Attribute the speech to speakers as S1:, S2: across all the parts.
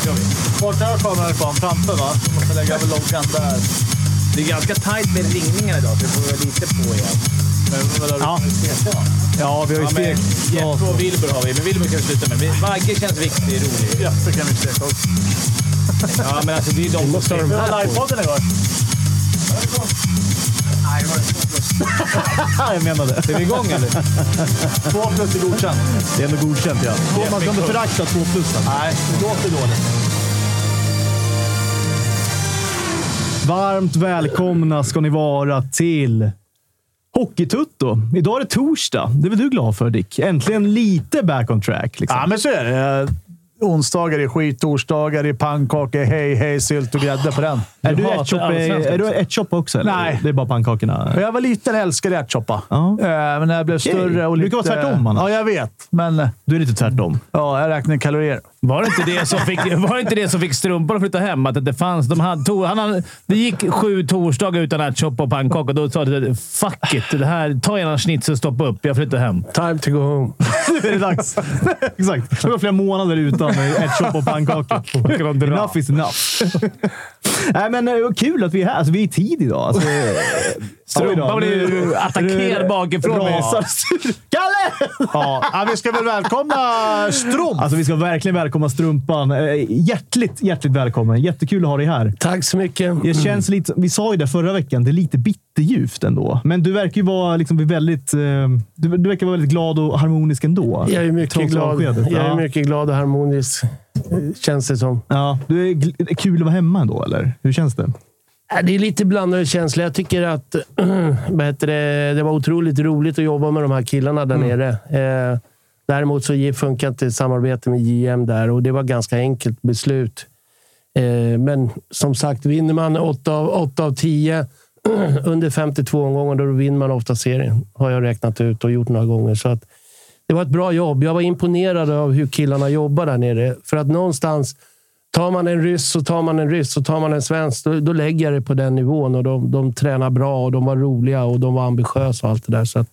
S1: Vart jag kommer ifrån? Framför va? Måste lägga över loggan där.
S2: Det är ganska tajt med ringningar idag, så det får vi vara lite på igen.
S1: Men,
S3: Ja. Ja, vi har ju
S2: Ja, men,
S3: stekt.
S2: Jeppe och Wilbur har vi, men Wilbur kan vi sluta med. Vi- Vagge känns viktig, rolig.
S1: Jeppe kan vi steka också.
S2: Ja, men alltså det är ju de som
S3: måste ha
S2: sitter-
S3: dem
S1: Vi har livepodden igår.
S3: Ja, jag menade.
S2: Är vi igång eller?
S1: Två plus är godkänt.
S3: Det är ändå godkänt ja. Man ska inte förakta två plusen.
S1: Nej, det låter dåligt.
S3: Varmt välkomna ska ni vara till Hockeytutto. Idag är det torsdag. Det är väl du glad för Dick? Äntligen lite back on track. Liksom.
S1: Ja, men så är det. Eh, Onsdagar är skit, torsdagar är pannkakor, hej, hej, sylt och grädde på den.
S3: är du
S4: hatar
S3: ärtsoppa
S4: allsvenskan
S3: är du ärtsoppa också? Eller?
S1: Nej.
S3: Det är bara pannkakorna.
S1: När jag var liten älskade jag ärtsoppa.
S3: Ja.
S1: Eh, Men när jag blev
S3: Okej.
S1: större och
S3: Det
S1: lite...
S3: brukar vara tvärtom annars.
S1: Ja, jag vet. Men eh,
S3: Du är lite tvärtom.
S1: ja, jag räknar kalorier.
S4: Var det inte det som fick, var det inte det som fick strumpan att flytta hem? Att det inte fanns. De hade, tog, han, hade- det gick sju torsdagar utan ärtsoppa och pannkaka. Då sa du “fuck it, det här, ta gärna en schnitzel och stoppa upp. Jag flyttar hem”.
S5: Time to go home.
S3: Nu är det dags. Exakt. Det var flera månader utan ärtsoppa och pannkakor.
S4: Kan de dra?
S3: enough is enough. Nej, men eh, vad kul att vi är här. Alltså, vi är i tid idag. Alltså,
S4: Strumpan blev ju attackerad bakifrån. med-
S3: Rasar Kalle!
S1: Ja, ja, vi ska väl välkomna Strump.
S3: Alltså, vi ska verkligen välkomna Strumpan. Eh, Hjärtligt, hjärtligt välkommen. Jättekul att ha dig här.
S5: Tack så mycket.
S3: Det känns lite, vi sa ju det förra veckan, det är lite bitterljuvt ändå. Men du verkar ju vara liksom väldigt, eh, du, du verkar vara väldigt glad och harmonisk ändå.
S5: Jag är mycket
S3: Trots
S5: glad.
S3: avskedet.
S5: Jag
S3: ja.
S5: är mycket glad och harmonisk, eh, känns det som.
S3: Ja. Du är gl- kul att vara hemma ändå, eller? Hur känns det?
S5: Äh, Det är lite blandade känslor. Jag tycker att vad heter det, det var otroligt roligt att jobba med de här killarna där nere. Eh, däremot så ge- funkar inte samarbete med JM där och det var ganska enkelt beslut. Eh, men som sagt, vinner man 8 av, 8 av 10 under 52 omgångar, då vinner man ofta serien. Har jag räknat ut och gjort några gånger. Så att, det var ett bra jobb. Jag var imponerad av hur killarna jobbar där nere. För att någonstans Tar man en ryss så tar man en ryss så tar man en svensk. Då, då lägger jag det på den nivån och de, de tränar bra och de var roliga och de var ambitiösa och allt det där. Så att,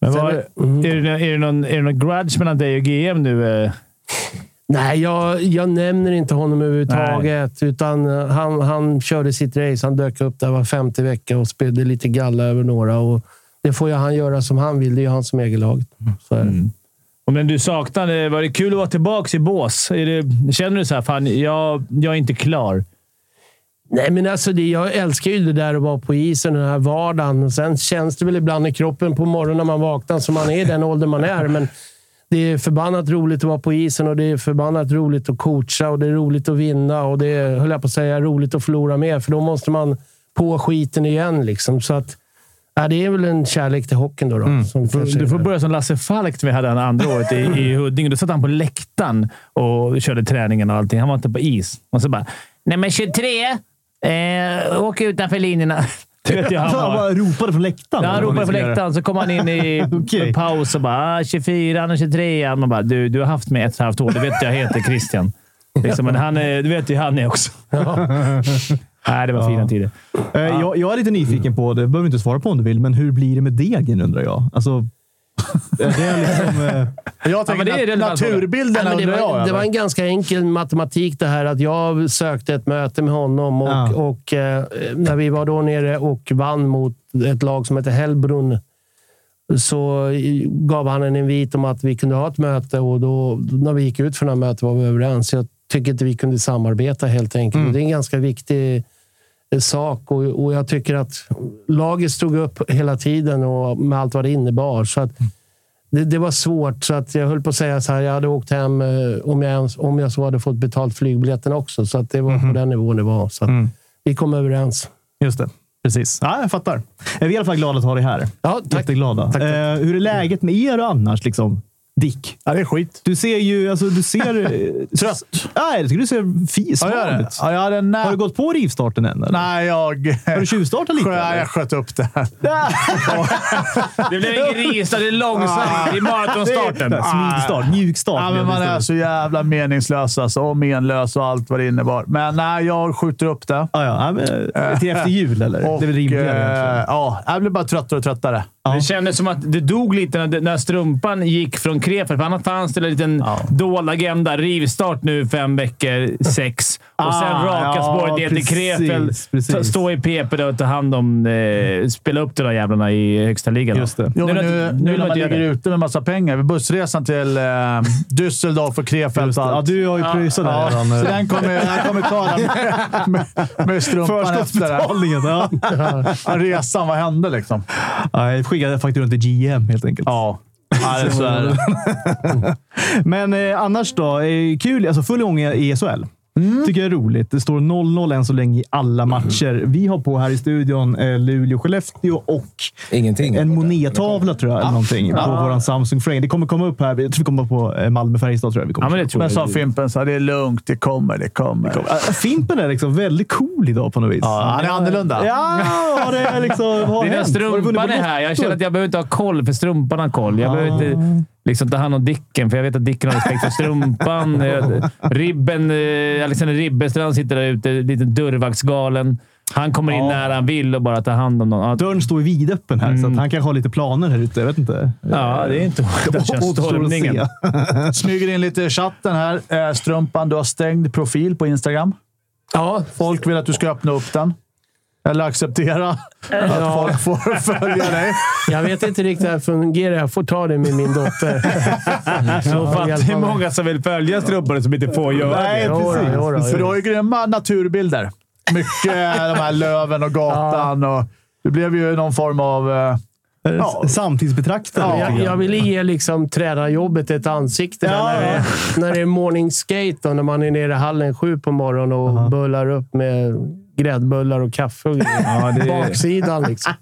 S4: Men
S5: Sen
S4: var,
S5: är- mm.
S4: är, det, är, det någon, är det någon grudge mellan dig och GM nu? eh?
S5: nej, jag, jag nämner inte honom överhuvudtaget. Utan eh, han, han körde sitt race. Han dök upp där var femte vecka och spydde lite galla över några. Och det får ju han göra som han vill. Det är ju han som äger laget. Så är det.
S4: Och men du saknade... Var det kul att vara tillbaka i bås? Är det, känner du så här, fan, jag, jag är inte klar?
S5: Nej, men alltså det, jag älskar ju det där att vara på isen, den här vardagen. Och sen känns det väl ibland i kroppen på morgonen när man vaknar som man är i den ålder man är. Men det är förbannat roligt att vara på isen och det är förbannat roligt att coacha och det är roligt att vinna och det är, höll jag på att säga, roligt att förlora med. För då måste man på skiten igen. Liksom. Så att, ja, det är väl en kärlek till hockeyn. Då, då, som kanske
S4: Du får
S5: är-
S4: börja som Lasse Falk som vi hade han andra året i, i Huddinge. Då satt han på läktaren och körde träningen och allting. Han var inte på is. Och så bara “Nummer 23, eh, åk utanför linjerna”. Det vet jag han
S3: Han
S4: var.
S3: bara ropade från läktaren.
S4: Ja, han ropade på läktaren, så kom han in i
S3: Okej.
S4: paus och bara ah, 24 och 23 Man bara du, du har haft mig ett och ett halvt år. Det vet jag heter Christian. Liksom, men han är, du vet ju hur han är också. Nej, det var fina tider.
S3: Eh, Jag, jag är lite nyfiken på, det behöver du inte svara på om du vill, men hur blir det med degen undrar jag? Alltså, är det liksom... eh,
S1: Jag
S4: men
S1: tänker
S4: det är en
S1: ja,
S4: relevant fråga.
S1: naturbilderna
S5: Nej, men
S1: undrar
S5: det, var,
S1: jag
S5: det var
S1: över.
S5: en ganska enkel matematik det här att jag sökte ett möte med honom och,
S3: Ja.
S5: och eh, när vi var då nere och vann mot ett lag som heter Hellbrunn så i- gav han en invit om att vi kunde ha ett möte och då när vi gick ut från det här mötet var vi överens. Jag tycker inte vi kunde samarbeta helt enkelt. Det är en ganska viktig eh, sak och, och jag tycker att laget stod upp hela tiden och med allt vad det innebar. Så att det, det var svårt, så att jag höll på att säga så här. Jag hade åkt hem eh, om jag, ens- om jag så hade fått betalt flygbiljetten också. Så att det var
S4: Mhm.
S5: på den nivån det var. Så att
S4: Mm.
S5: Vi kom överens.
S3: Just det. Precis. Ja, jag fattar. Eh, Vi är i alla fall glada att ha dig här.
S5: Ja, tack.
S3: Jätteglada.
S5: Tack, tack.
S3: Eh, hur är läget med er annars? Liksom? Dick?
S1: Ja, det är skit.
S3: Du ser ju... Alltså, du ser... eh,
S1: Trött.
S3: Nej, jag tycker du ser fi-
S1: Ja,
S3: sval
S1: jag gör det.
S3: ut.
S1: Ja, jag hade en
S3: Har du
S1: nap.
S3: gått på rivstarten än? Eller?
S1: Nej, jag...
S3: Har du tjuvstartat lite?
S1: Ja,
S3: eller?
S1: jag sköt upp det här.
S4: Det blev ingen ris, det är
S1: Ah.
S4: långsamt i maratonstarten.
S3: Smygstart. Mjukstart.
S1: Ja, men man är så jävla meningslös alltså, och menlös och allt vad det innebar. Men nej, jag skjuter upp det.
S3: ja, ja, ja, men, till efter jul, eller?
S1: Eh. Och,
S3: det är väl rimligare
S1: eh,
S3: egentligen.
S1: Ja, jag blir bara tröttare och tröttare.
S4: Det kändes som att det dog lite när, när strumpan gick från Krefeld. För annars fanns det en liten dold agenda. Rivstart nu fem veckor, sex. Och sen
S3: Ah,
S4: raka
S3: ja,
S4: spåret ner till
S3: precis,
S4: Krefeld.
S3: precis.
S4: Ta- Stå i PP där och ta hand om... Eh, spela upp de där jävlarna i högsta ligan. då.
S3: Just det.
S1: Jo,
S4: Nu
S1: men
S4: är det
S1: nu,
S4: att- nu
S1: nu
S4: är det
S1: när
S4: att
S1: man
S4: göra
S1: ligger
S4: det.
S1: ute med massa pengar. Bussresan till eh, Düsseldorf och Krefeld
S3: Just det.
S1: och
S3: Ja,
S1: allt.
S3: du har ju pröjsat
S1: Ja,
S3: det
S1: så
S3: redan. eh,
S1: den kommer, den kommer ta den med, med strumpan efter det.
S3: Förskottsbetalningen. Ja.
S1: Ja, Resan, vad hände liksom?
S3: Ja, jag skickade fakturan till GM helt enkelt.
S1: Ja.
S3: det är så är det. Men eh, annars då? Eh, kul. Alltså full gång i SHL.
S4: Mm.
S3: Tycker jag är roligt. Det står 0-0 än så länge i alla matcher. Vi har på här i studion eh, Luleå, Skellefteå och
S2: Ingenting.
S3: en Monet-tavla tror jag, eller någonting, på vår Samsung Frame. Det kommer komma upp här. Jag tror vi kommer på eh, Malmö-Färjestad. tror jag vi kommer
S4: Ja, men det
S3: på.
S4: tror
S1: Men sa
S4: jag.
S1: Fimpen så här, det är lugnt. Det kommer, det kommer.
S3: Äh, Fimpen är liksom väldigt cool idag på något vis.
S1: Ja, han är annorlunda.
S3: Ja, har det är liksom... Vad har
S4: Det är när
S3: hänt? Har du vunnit
S4: strumpan
S3: på
S4: är
S3: något?
S4: här. Jag känner att jag behöver inte ha koll, för strumpan har koll. Jag behöver
S3: Ah.
S4: inte liksom, ta hand om Dicken, för jag vet att Dicken har respekt för strumpan. Jag- Ribben, eh, Alexander Ribbenstrand sitter där ute, lite dörrvaktsgalen. Han kommer in när han vill och bara tar hand om någon. Ja,
S3: Dörren står ju vidöppen här,
S4: Mm.
S3: så att han kanske har lite planer här ute. Jag vet inte.
S4: Ja, det är inte hårt.
S3: Återstår att se.
S4: Stormningen.
S1: Smyger in lite i chatten här. Eh, Strumpan, du har stängd profil på Instagram.
S5: Ja,
S1: Folk vill att du ska öppna upp den. Eller acceptera att folk får följa dig.
S5: jag vet inte riktigt hur det fungerar. Jag får ta det med min dotter.
S4: Så fan, det är många som vill följa strumpan som inte får göra
S1: Nej,
S4: det.
S5: Jodå,
S1: precis.
S5: jodå,
S1: För du har ju grymma naturbilder. Mycket de här löven och gatan. Och det blev ju någon form av... eh,
S3: Ja. Samtidsbetraktare.
S5: Jag, jag ville ge liksom tränarjobbet ett ansikte där
S3: Ja,
S5: när, det är, när det är morning skate då, när man är nere i hallen sju på morgonen och bullar upp med gräddbullar och kaffe och
S4: Ja,
S5: grejer.
S4: det-
S5: Baksidan liksom.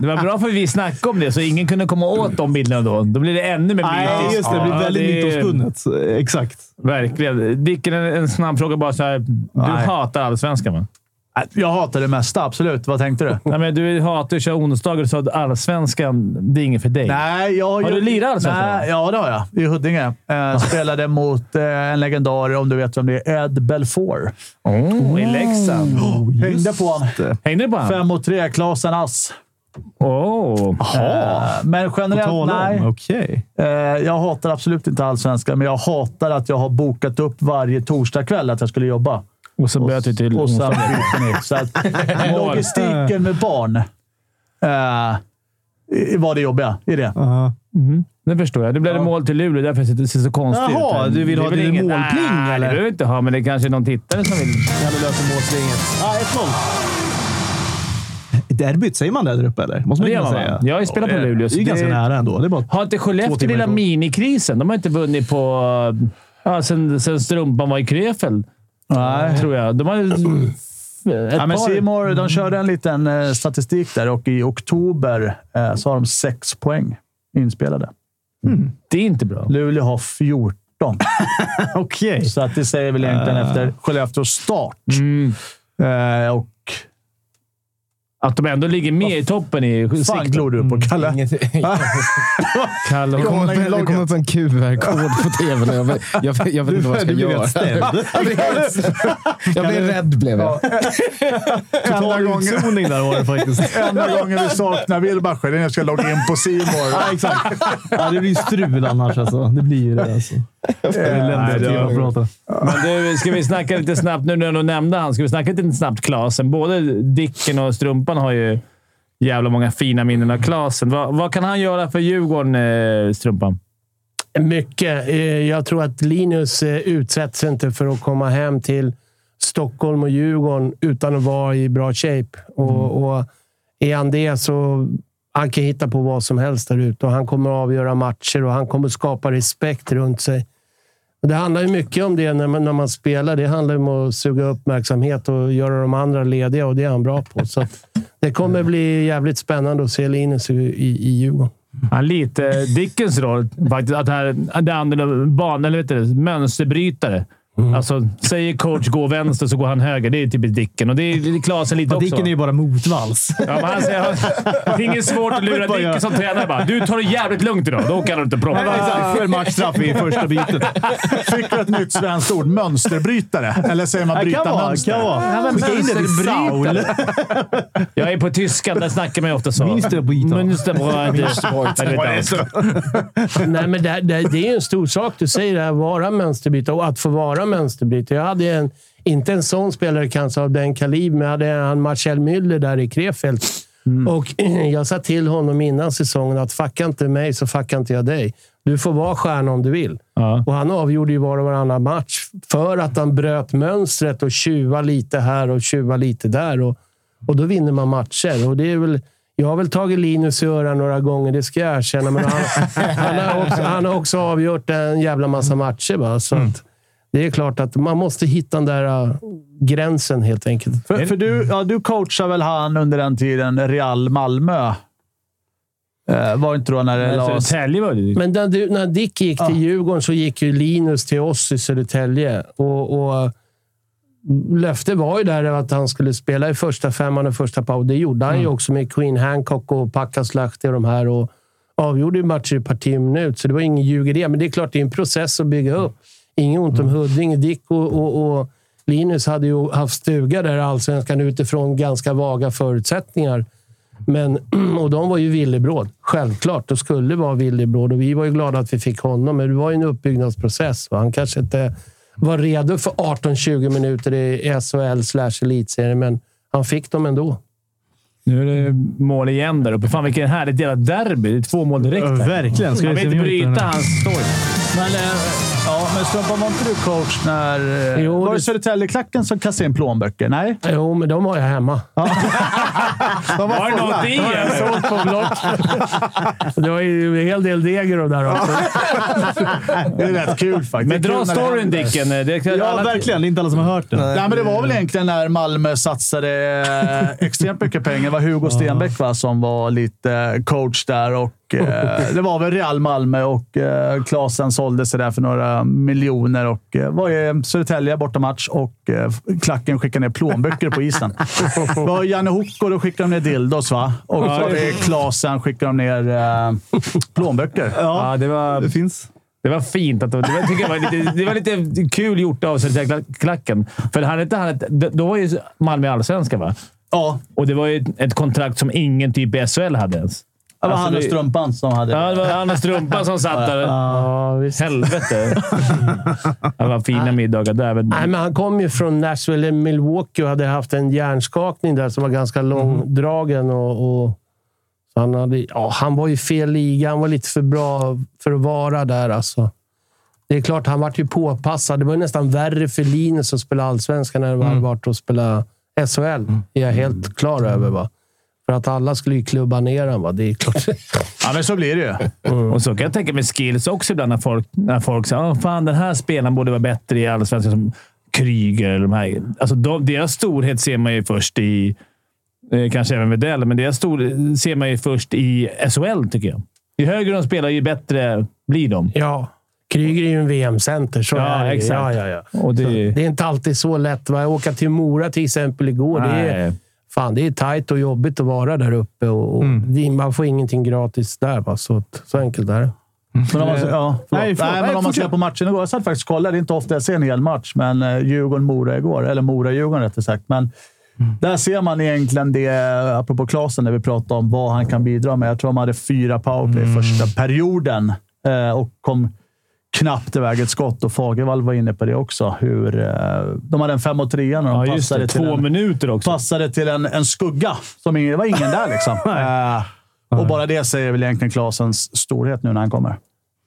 S4: Det var bra för vi snackade om det, så ingen kunde komma åt de bilderna då. Då blir det ännu mer
S3: Nej, just det. Det blir
S4: Ja,
S3: väldigt
S4: det är-
S3: mytomspunnet. Exakt.
S4: Verkligen. Dicken, en, en snabb fråga bara. Så här, du
S1: Nej.
S4: hatar allsvenskan, va?
S1: äh, Jag hatar det mesta, absolut. Vad tänkte du?
S4: Nej, men du hatar att köra onsdagar och sa att allsvenskan, det är inget för dig.
S1: Nej, jag,
S4: Har du lirat alltså? allsvenskan?
S1: Nej, Ja, det har jag. I Huddinge. Eh, spelade mot eh, en legendar, om du vet vem det är, Ed Belfour.
S3: Mm.
S4: Oh, I Leksand.
S1: Hängde på honom.
S4: Hängde du på honom?
S1: Fem mot tre, Klasen Ass.
S4: Oh.
S1: Eh, Men
S3: På tal
S1: generellt, nej.
S3: om. Okej.
S1: Eh, Jag hatar absolut inte allsvenskan, men jag hatar att jag har bokat upp varje torsdagkväll att jag skulle jobba.
S4: Och så böt du till
S1: Och sen
S4: onsdag.
S1: bytte ni. Så att logistiken med barn eh, i- var det jobbiga i det.
S3: Ja.
S4: Det förstår jag. Det blev det mål till Luleå. Därför ser det ser så konstigt ut.
S3: Jaha,
S4: här.
S3: du vill
S4: Det är
S3: ha
S4: väl
S3: din
S4: ingen-
S3: målpling,
S4: Nej,
S3: eller?
S4: det behöver vi inte ha, men det är kanske någon tittare som vill.
S3: Kan du lösa målsvinget? Ja, 1-0. Derbyt, säger man det där uppe eller? Måste man
S4: Det
S3: ju kunna
S4: gör man,
S3: säga. Eh,
S4: va? Jag har ju spelat på Luleå,
S3: Det
S4: så
S3: är ju ganska
S4: det-
S3: nära ändå. Det är bara
S4: Har inte
S3: Två
S4: Skellefteå
S3: timmar
S4: lilla
S3: ifrån.
S4: minikrisen? De har inte vunnit på... Ja, sen, sen strumpan var i Krefeld. Nej. Tror jag. De har ju... Ett
S1: Ja, men
S4: par-
S1: Simor,
S3: Mm.
S1: de körde en liten eh, statistik där och i oktober eh, så har de sex poäng inspelade.
S4: Det är inte bra.
S1: Luleå har 14.
S3: Okej. Eh.
S1: Så att det säger väl egentligen efter Skellefteås start.
S3: Mm.
S1: Eh, och
S4: Att de ändå ligger med i toppen i
S1: fan
S4: sikten.
S1: glor du
S3: Mm.
S1: på, Kalle?
S6: Ingenting.
S4: Kalle
S6: Det
S4: och
S6: kommer upp- det kommer upp en QR-kod på tvn och jag vet, jag vet, jag vet inte vad jag ska
S3: du blev
S6: göra.
S3: rätt stämd.
S6: Jag blev rätt stämd. Jag blev rädd blev jag.
S3: Total utzoning där var det faktiskt.
S1: Enda gången vi saknar Wilbacher är när jag ska logga in på Simor.
S3: Ja, exakt. Ja, det blir ju strul annars alltså. Det blir ju det alltså. Det är eländigt att driva och prata.
S4: Men du, ska vi snacka lite snabbt nu när du nämnde han? Ska vi snacka lite snabbt Klasen? Både Dicken och Strumpan har ju jävla många fina minnen av Klasen. Vad, vad kan han göra för Djurgården, eh, Strumpan?
S5: Mycket. Eh, Jag tror att Linus eh, utsätts inte för att komma hem till Stockholm och Djurgården utan att vara i bra shape. Och, och är han det så han kan hitta på vad som helst där ute och han kommer att avgöra matcher och han kommer att skapa respekt runt sig. Och Det handlar ju mycket om det när man, när man spelar. Det handlar ju om att suga uppmärksamhet och göra de andra lediga och det är han bra på. Så att det kommer bli jävligt spännande att se Linus i, i, i Djurgården.
S4: Han lite Dickens roll. Faktiskt, att här, det andra banan, eller vet du, det, mönsterbrytare.
S3: Mm.
S4: Alltså, säger coach gå vänster så går han höger. Det är typiskt Dicken. Och det är Klasen lite också.
S3: Dicken är ju bara motvals.
S4: Ja, men han säger, det är inget svårt att lura Dicken som tränare. Bara, du tar det jävligt lugnt idag. Då kan du inte prata.
S3: Själv matchstraff i första bytet.
S1: Fick du ett nytt svenskt ord? Mönsterbrytare? Eller säger man
S3: Det
S1: bryta
S3: kan vara.
S1: mönster?
S3: Kan vara. Skicka in det till Saul.
S4: Jag är på tyska. Där snackar man ju ofta så.
S3: Mönsterbrytare.
S4: Mönsterbrytare. Eller dansk.
S5: Nej, men det, det, det är ju en stor sak du säger, det här, vara mönsterbrytare och att få vara mönsterbrytare. Jag hade en, inte en sån spelare kanske av den kalibern, men jag hade han Marcel Müller där i Krefeld. Och jag sa till honom innan säsongen att fucka inte mig så fuckar inte jag dig. Du får vara stjärna om du vill.
S4: Ja.
S5: Och han avgjorde ju var och varannan match för att han bröt mönstret och tjuva lite här och tjuva lite där. Och, och då vinner man matcher. Och det är väl, jag har väl tagit Linus i örat några gånger, det ska jag erkänna. Men han, han, har, också, han har också avgjort en jävla massa matcher. Va? Så att, det är klart att man måste hitta den där äh, gränsen helt enkelt.
S1: För, för du, ja, du coachade väl han under den tiden Real Malmö? Eh, var det inte då när det lades...
S4: Södertälje var det ju.
S5: Men när, du, när Dick gick till Djurgården så gick ju Linus till oss i Södertälje. Och, och löftet var ju där att han skulle spela i första femman och första power. Det gjorde han ju också med Queen Hancock och Packa Slahti och de här. Och avgjorde ju matcher i parti minut, så det var ingen ljug i det. Men det är klart, det är en process att bygga upp. Inget ont om Huddinge. Dick och, och, och Linus hade ju haft stuga där i Allsvenskan utifrån ganska vaga förutsättningar. Men, och de var ju villebråd, självklart. De skulle vara villebråd och vi var ju glada att vi fick honom. Men det var ju en uppbyggnadsprocess. Va? Han kanske inte var redo för 18-20 minuter i SHL slash elitserien, men han fick dem ändå.
S4: Nu är det mål igen där uppe. Fan vilken härligt jävla derby. Det är två mål direkt. här.
S3: Verkligen. Ska
S4: Jag
S3: vi
S4: vill
S3: se
S4: inte
S3: om vi hittar den
S4: bryta
S3: här?
S4: hans story.
S1: Men, eh, ja, men Strumpan, var inte du coach när... eh,
S5: Jo,
S1: var det
S5: det-
S1: Södertäljeklacken som kastade in plånböcker? Nej?
S5: Jo, men de har jag hemma.
S1: De
S4: Var det något i eller?
S5: Sålt på block. Det var ju en hel del deg i de där också.
S1: Det är rätt kul faktiskt.
S4: Men
S1: Det är kul
S4: dra
S1: när det
S4: storyn
S1: händer.
S4: Dicken. Det,
S3: Ja, verkligen. Det är inte alla som har hört den.
S1: Nej, men det var väl egentligen när Malmö satsade eh, extremt mycket pengar. Det var Hugo Stenbeck va, som var lite eh, coach där. Och, eh, det var väl Real Malmö och eh, Klasen sålde sig där för några miljoner och eh, var i Södertälje bortamatch och eh, klacken skickade ner plånböcker på isen. Det var Janne Hoko, då skickade de ner dildos va? Och så var det Klasen skickade de ner eh, plånböcker.
S4: Ja, det var,
S3: Det finns.
S4: det var fint. Att, det, var, jag tycker jag var lite, det var lite kul gjort av Södertäljeklacken. För hade inte han ett, då var ju Malmö allsvenska, va?
S1: Ja,
S4: Och det var ju ett, ett kontrakt som ingen typ i SHL hade ens.
S1: det var
S4: Alltså,
S1: han och
S4: det-
S1: Strumpan som hade...
S4: Ja, det var Anna Strumpa som satt där.
S5: Ja, visst.
S4: Helvete. Det var fina middagar där. Men,
S5: Nej, men han kom ju från Nashville, eller Milwaukee, och hade haft en hjärnskakning där som var ganska
S4: Mm.
S5: långdragen. Och, och, så han, hade, ja, han var ju fel liga. Han var lite för bra för att vara där. Alltså. Det är klart, han vart ju påpassad. Det var ju nästan värre för Linus att spela allsvenskan än
S4: Mm.
S5: vad det vart att spela SHL. är jag helt klar
S4: Mm.
S5: över. Va? För att alla skulle ju klubba ner honom. va? Det är klart.
S1: Ja, men så blir det ju.
S4: Och så kan jag tänka mig skills också ibland när folk, när folk säger att fan den här spelaren borde vara bättre i Allsvenskan som Kryger eller de här. Alltså, de, deras storhet ser man ju först i, eh, kanske även Widell, men deras storhet ser man ju först i SHL tycker jag. Ju högre de spelar, ju bättre blir de.
S5: ja. Kryger är ju en VM-center. Så
S4: Ja,
S5: är det ju.
S4: exakt.
S5: Ja, ja, ja.
S4: Och det,
S5: Det är inte alltid så lätt. Va? Jag åka till Mora till exempel igår. Det är,
S4: Nej.
S5: fan, det är tajt och jobbigt att vara där uppe. Och, och det, man får ingenting gratis där. Va? Så, att- så enkelt är det.
S1: Men om man, ja, förlåt.
S3: Nej,
S1: nej,
S3: förlåt. Nej,
S1: men om man ser
S3: fortsätt.
S1: på matchen igår. Jag satt faktiskt och kollade. Det är inte ofta jag ser en hel match, men eh, Djurgården-Mora igår. Eller Mora-Djurgården rättare sagt. Men
S4: Mm.
S1: där ser man egentligen det, apropå Klasen, när vi pratade om vad han kan bidra med. Jag tror de hade fyra powerplay i
S4: Mm.
S1: första perioden eh, och kom knappt iväg ett skott. Och Fagervall var inne på det också. Hur, eh, de hade en 5 och 3 och de
S4: ja, just
S1: passade
S4: det.
S1: till
S4: Två
S1: en-
S4: minuter också.
S1: passade till en, en skugga. Som ingen, det var ingen där liksom. Eh, och bara det säger väl egentligen Klasens storhet nu när han kommer.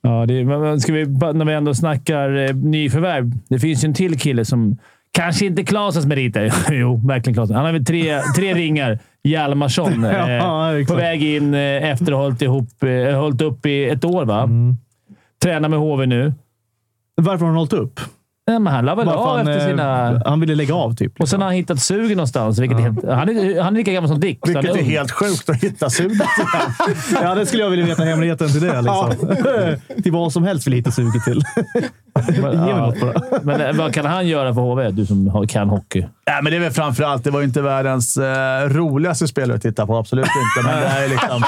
S4: Ja, det, men- men ska vi, när vi ändå snackar eh, nyförvärv. Det finns ju en till kille som kanske inte Klasens meriter. jo, verkligen Klasen. Han har väl tre, tre ringar. Hjalmarsson. Eh,
S3: Ja,
S4: på
S3: exakt.
S4: väg in eh, efter att ha hållit, ihop, eh, hållit upp i ett år. Va? Tränar med HV nu.
S3: Varför har han hållit upp?
S4: Nej, men han la väl
S3: Varför
S4: av
S3: han,
S4: efter
S3: eh,
S4: sina...
S3: han ville lägga av typ.
S4: Och sen har han hittat sugen någonstans. Vilket är helt, han, är, han är lika gammal som Dick. så
S1: Vilket
S4: han
S1: är
S4: ung.
S1: helt sjukt att hitta suget.
S3: Ja, det skulle jag vilja veta hemligheten till det. Liksom. till vad som helst vill hitta suget till.
S4: Men, ja, men eh, vad kan han göra för HV? Du som har- kan hockey.
S1: Nej, men det är väl framförallt, det var ju inte världens eh, roligaste spelare att titta på. Absolut inte. Men det är liksom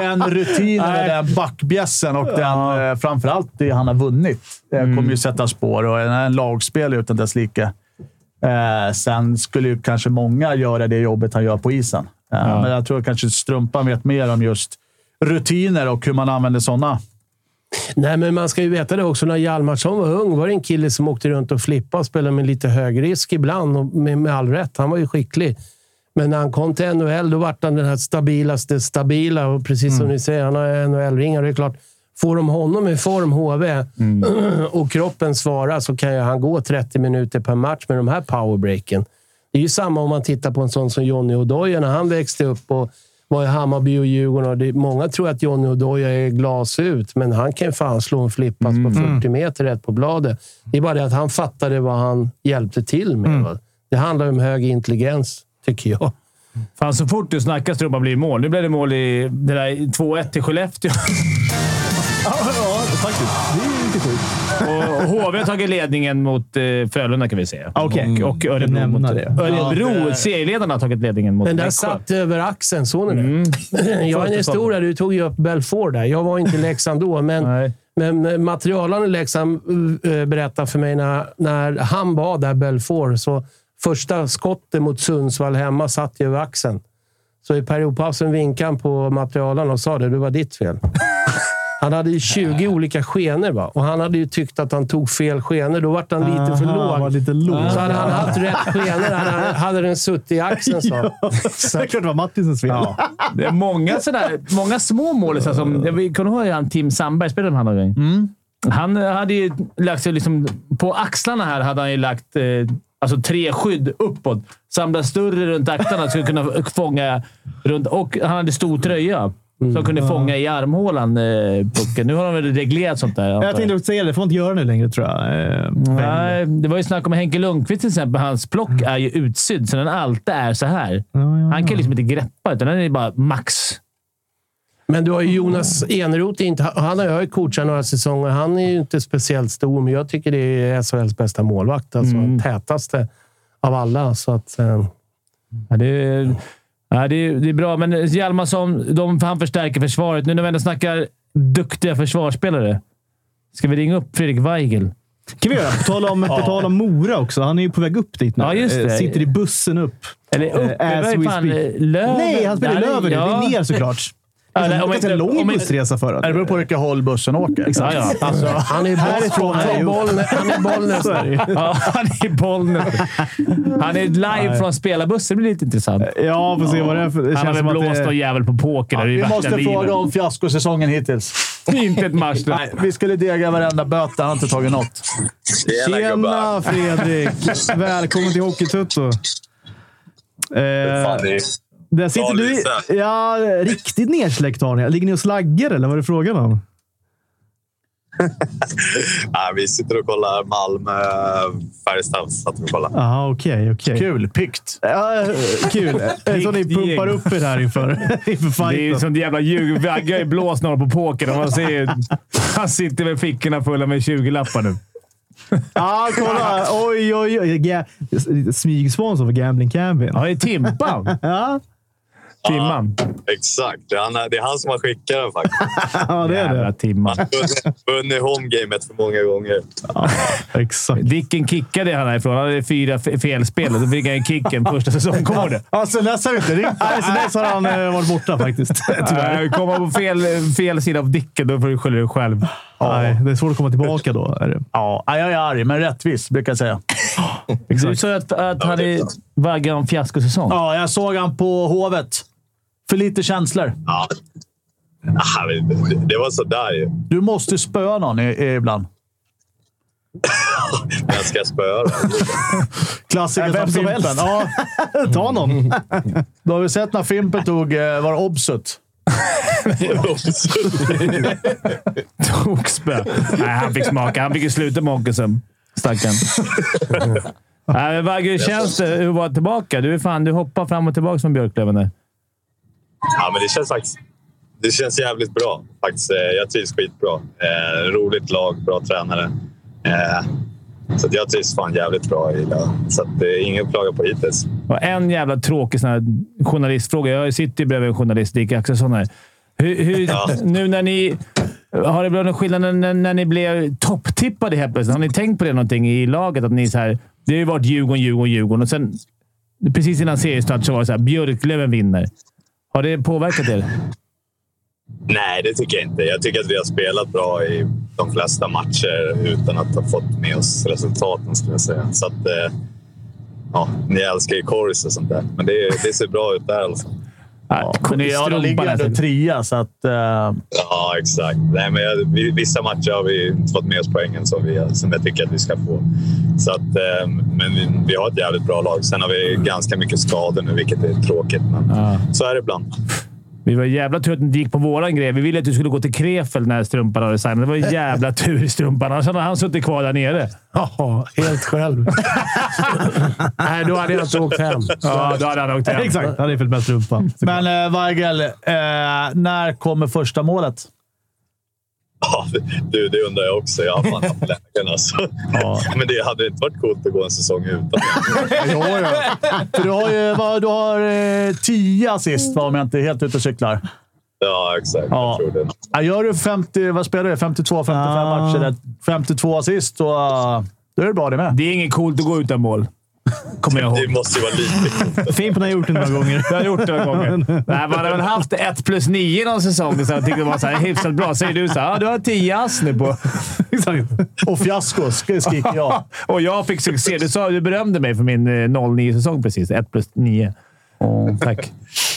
S1: den rutinen, och den backbjässen och den, eh, framförallt det han har vunnit eh, kommer ju sätta spår och är en lagspelare utan dess like. Eh, sen skulle ju kanske många göra det jobbet han gör på isen. Eh, Men jag tror kanske Strumpan vet mer om just rutiner och hur man använder sådana.
S5: Nej, men man ska ju veta det också. När Hjalmarsson var ung var det en kille som åkte runt och flippade och spelade med lite hög risk ibland. Och med, med all rätt. Han var ju skicklig. Men när han kom till NHL, då vart han den här stabilaste stabila. Och precis som ni säger, han har NHL-ringar. Det är klart, får de honom i form, HV, och kroppen svarar så kan ju han gå 30 minuter per match med de här powerbreaken. Det är ju samma om man tittar på en sån som Johnny Oduya när han växte upp och var i Hammarby och Djurgården. Och det, många tror att Johnny Oduya är glasut, men han kan ju fan slå en flippass på 40 meter rätt på bladet. Det är bara det att han fattade vad han hjälpte till med. Va? Det handlar om hög intelligens, tycker jag.
S4: Fan, så fort du snackar Strumpan blir det mål. Nu blev det mål i det där 2-1 till Skellefteå. Och HV har tagit ledningen mot eh, Frölunda kan vi säga.
S3: Okej.
S4: Och, och Örebro.
S3: Nämna
S4: Mot,
S3: det.
S1: Ja,
S4: Örebro,
S1: det-
S4: serieledarna, har tagit ledningen mot
S5: Den där
S4: Växjö.
S5: satt över axeln, såg ni det?
S3: Mm.
S5: Jag har en historia. Du tog ju upp Belfort där. Jag var inte i Leksand då, men,
S4: Nej.
S5: men materialen i Leksand eh, berättade för mig när, när han var där, Belfort, så första skottet mot Sundsvall hemma satt ju över axeln. Så i periodpausen vinkade han på materialen och sa det. Det var ditt fel. Han hade ju 20 olika skenor va? och han hade ju tyckt att han tog fel skenor. Då vart han lite för
S3: Aha, var
S5: låg.
S3: lite låg.
S5: Så hade han haft rätt skenor hade, hade den suttit i axeln, sa han.
S3: Det är klart det var Mattisens fel.
S4: Det är många, sådär, många små mål. Så som, jag vill- kommer du ihåg han Tim Sandberg spelade med honom någon gång? Han eh, hade ju lagt sig liksom, på axlarna här hade han ju lagt eh, alltså tre skydd uppåt. Samla större runt axlarna så kunna fånga runt. Och han hade stor tröja. Som kunde fånga i armhålan eh, pucken. Nu har de väl reglerat sånt där. antar
S3: Jag tänkte också säga det. får man inte göra nu längre tror jag. Eh, men-
S4: Nej, det var ju snack om Henke Lundqvist till exempel. Hans plock är ju utsydd, så den alltid är så här. Han kan liksom inte greppa, utan den är bara max.
S5: Men du har ju Jonas Eneroth. Inte, han har jag ju coachat några säsonger. Han är ju inte speciellt stor, men jag tycker det är SHLs bästa målvakt. Alltså tätaste av alla. Så att, eh,
S4: Ja, det, är, ja, det, är, det är bra, men Hjalmarsson, de, han förstärker försvaret. Nu när vi ändå snackar duktiga försvarsspelare. Ska vi ringa upp Fredrik Weigel?
S3: kan vi göra. På tal, om, på tal om Mora också. Han är ju på väg upp dit nu.
S4: Ja, just
S3: Eh,
S4: det.
S3: Sitter i bussen upp.
S4: Eller
S3: Eh,
S4: upp?
S3: as
S4: det var
S3: we
S4: ju fan
S3: speak.
S4: eh, Löven.
S3: Nej, han spelar i
S4: Där-
S3: Löven nu.
S4: ja.
S3: Det är ner såklart. Det
S4: Ja,
S3: är
S4: nej,
S3: en
S4: om
S3: ganska
S4: inte-
S3: lång
S4: om inte-
S3: bussresa för
S1: Det
S3: honom.
S1: beror på vilka håll bussen åker.
S4: Ja, ja. Alltså,
S5: han är i Bollnäs- han är i Bollnäs- han är i Bollnäs.
S4: ja, han är i Bollnäs. Han är live från spelarbussen. Det blir lite intressant.
S3: Ja, får se vad Eh, det är för... Det
S4: Han har
S3: känns
S4: väl
S3: som att
S4: blåst någon
S3: det...
S4: jävel på poker. där i
S1: Vi
S4: värsta
S1: måste
S4: livet.
S1: fråga om fiaskosäsongen hittills.
S4: Inte ett match.
S1: Nej, vi skulle dega varenda böter. Han har inte tagit något.
S3: Tjena Fredrik! Välkommen till Hockeytutto. Eh, där sitter du i... Ja, riktigt nersläckt har ni. Ligger ni och slaggar eller vad är det frågan om?
S7: Nej, vi sitter och kollar Malmö, eh, Färjestad satt vi och kollade.
S3: Jaha, okej. okej.
S1: Kul. Pikt.
S3: Ja, kul. Eh, Så ni
S4: Riktigt
S3: pumpar
S4: gäng.
S3: upp er här inför, inför
S4: Det är ju
S3: fighten.
S4: sånt jävla ljug. Vagge har ju blåst några på poker. och Man ser, ju- han sitter med fickorna fulla med 20-lappar nu.
S3: Ja, kolla! Oj, oj, oj. Ga- Smygsponsor för Gambling Cabin.
S4: Ja, det är Timpan.
S3: Ja,
S4: Timman.
S7: Exakt. Det är, han, det är han som har skickat den faktiskt.
S3: ja det är
S4: Jävla
S3: det.
S4: Timman.
S7: Han har vunnit- vunnit homegamet för många gånger.
S3: Exakt.
S4: Dicken kickade han härifrån. Han hade fyra fe- felspel och då fick han ju kicken första säsongsgården.
S1: Alltså, dess har vi inte ringt.
S3: Nej, så dess har han eh, varit borta faktiskt. Tyvärr.
S4: Äh, Kom man på fel, fel sida av Dicken, då får du skylla dig själv.
S3: Nej, det är svårt att komma tillbaka då. Är det.
S1: Ja, jag är arg, men rättvis brukar jag säga.
S4: Du sa att, att han är Vagge har en fiaskosäsong.
S1: Ja, jag såg han på Hovet. För lite känslor.
S7: Ja. Ah, men det- Det var sådär ju.
S1: Du måste spöa någon i, i, ibland.
S7: Jag ska spöa dem.
S1: Klassiker
S3: Ja, Äh,
S1: som
S3: vem som
S1: Fimpen.
S3: helst.
S1: Ja,
S3: Ta någon.
S1: då har vi sett när Fimpen tog eh, var obsut.
S4: Tokspö. Nej, han fick smaka. Han fick ju sluta med hockeysömn. Stackarn. Nej, men Vagge, hur känns det att vara tillbaka? Du, är fan, du hoppar fram och tillbaka från Björklöven där.
S7: Ja, men det känns faktiskt... Det känns jävligt bra. Faktiskt, Eh, jag trivs skitbra. Eh, roligt lag, bra tränare. Eh, så att jag trivs fan jävligt bra i det. Så att det är inget att klaga på hittills.
S4: Och en jävla tråkig sån här journalistfråga. Jag sitter ju bredvid en journalist, Dick Axelsson. Här. Hur, hur,
S7: Ja.
S4: Nu när ni... Har det blivit någon skillnad när, när, när ni blev topptippade helt plötsligt? Har ni tänkt på det någonting i laget? Att ni så här, det har ju varit Djurgården, Djurgården, Djurgården och sen precis innan seriestart så var det så här, Björklöven vinner. Har det påverkat er?
S7: Nej, det tycker jag inte. Jag tycker att vi har spelat bra i de flesta matcher utan att ha fått med oss resultaten, skulle jag säga. Så att, eh, ja, ni älskar ju Corys och sånt där, men det, det ser bra ut där. Alltså.
S4: Ja,
S1: Men det- ja, de ligger ju ändå trea, så att... eh,
S7: Ja, exakt. Nej, men jag, vi, vissa matcher har vi inte fått med oss poängen som, vi, som jag tycker att vi ska få. Så att, eh, men vi, vi har ett jävligt bra lag. Sen har vi ganska mycket skador nu, vilket är tråkigt. Men
S4: Ja.
S7: så är det ibland.
S4: Vi var jävla tur att du inte gick på våran grej. Vi ville att du skulle gå till Krefeld när Strumpan hade signat. Det var ju jävla tur i Strumpan. Annars hade han suttit kvar där nere.
S5: Ja, helt själv. Nej, då hade jag inte åkt hem.
S4: alltså Ja, då hade han åkt hem.
S3: Exakt. Han hade följt med strumpan.
S1: Men eh, Weigel, eh, när kommer första målet?
S7: Ja, du, det undrar jag också. Jag har fan haft lägen alltså. Men det hade inte varit coolt att gå en säsong utan.
S1: Jo, ja. För du har ju vad, du har, eh, tio assist, va, om jag inte är helt ute och cyklar.
S7: Ja, exakt.
S1: Ja.
S7: Jag tror det.
S1: Ja, Gör du 50, vad spelar du? 52, 55
S3: Ah.
S1: matcher. där. 52 assist, så, eh, då är det bra det med.
S4: Det är inget coolt att gå utan mål. Kommer jag
S7: det
S4: ihåg.
S7: måste ju vara lite coolt.
S3: Fimpen har gjort det några gånger.
S4: Jag har gjort det några gånger. Nej, man har väl haft 1 plus 9 någon säsong så jag tyckte det var så här hyfsat bra. Säger du så här, ah, du har 10 ass nu på...
S1: Och fiasko sk- skriker jag.
S4: Och jag fick succé. Du, sa, du berömde mig för min eh, 09-säsong precis. 1 plus 9. tack.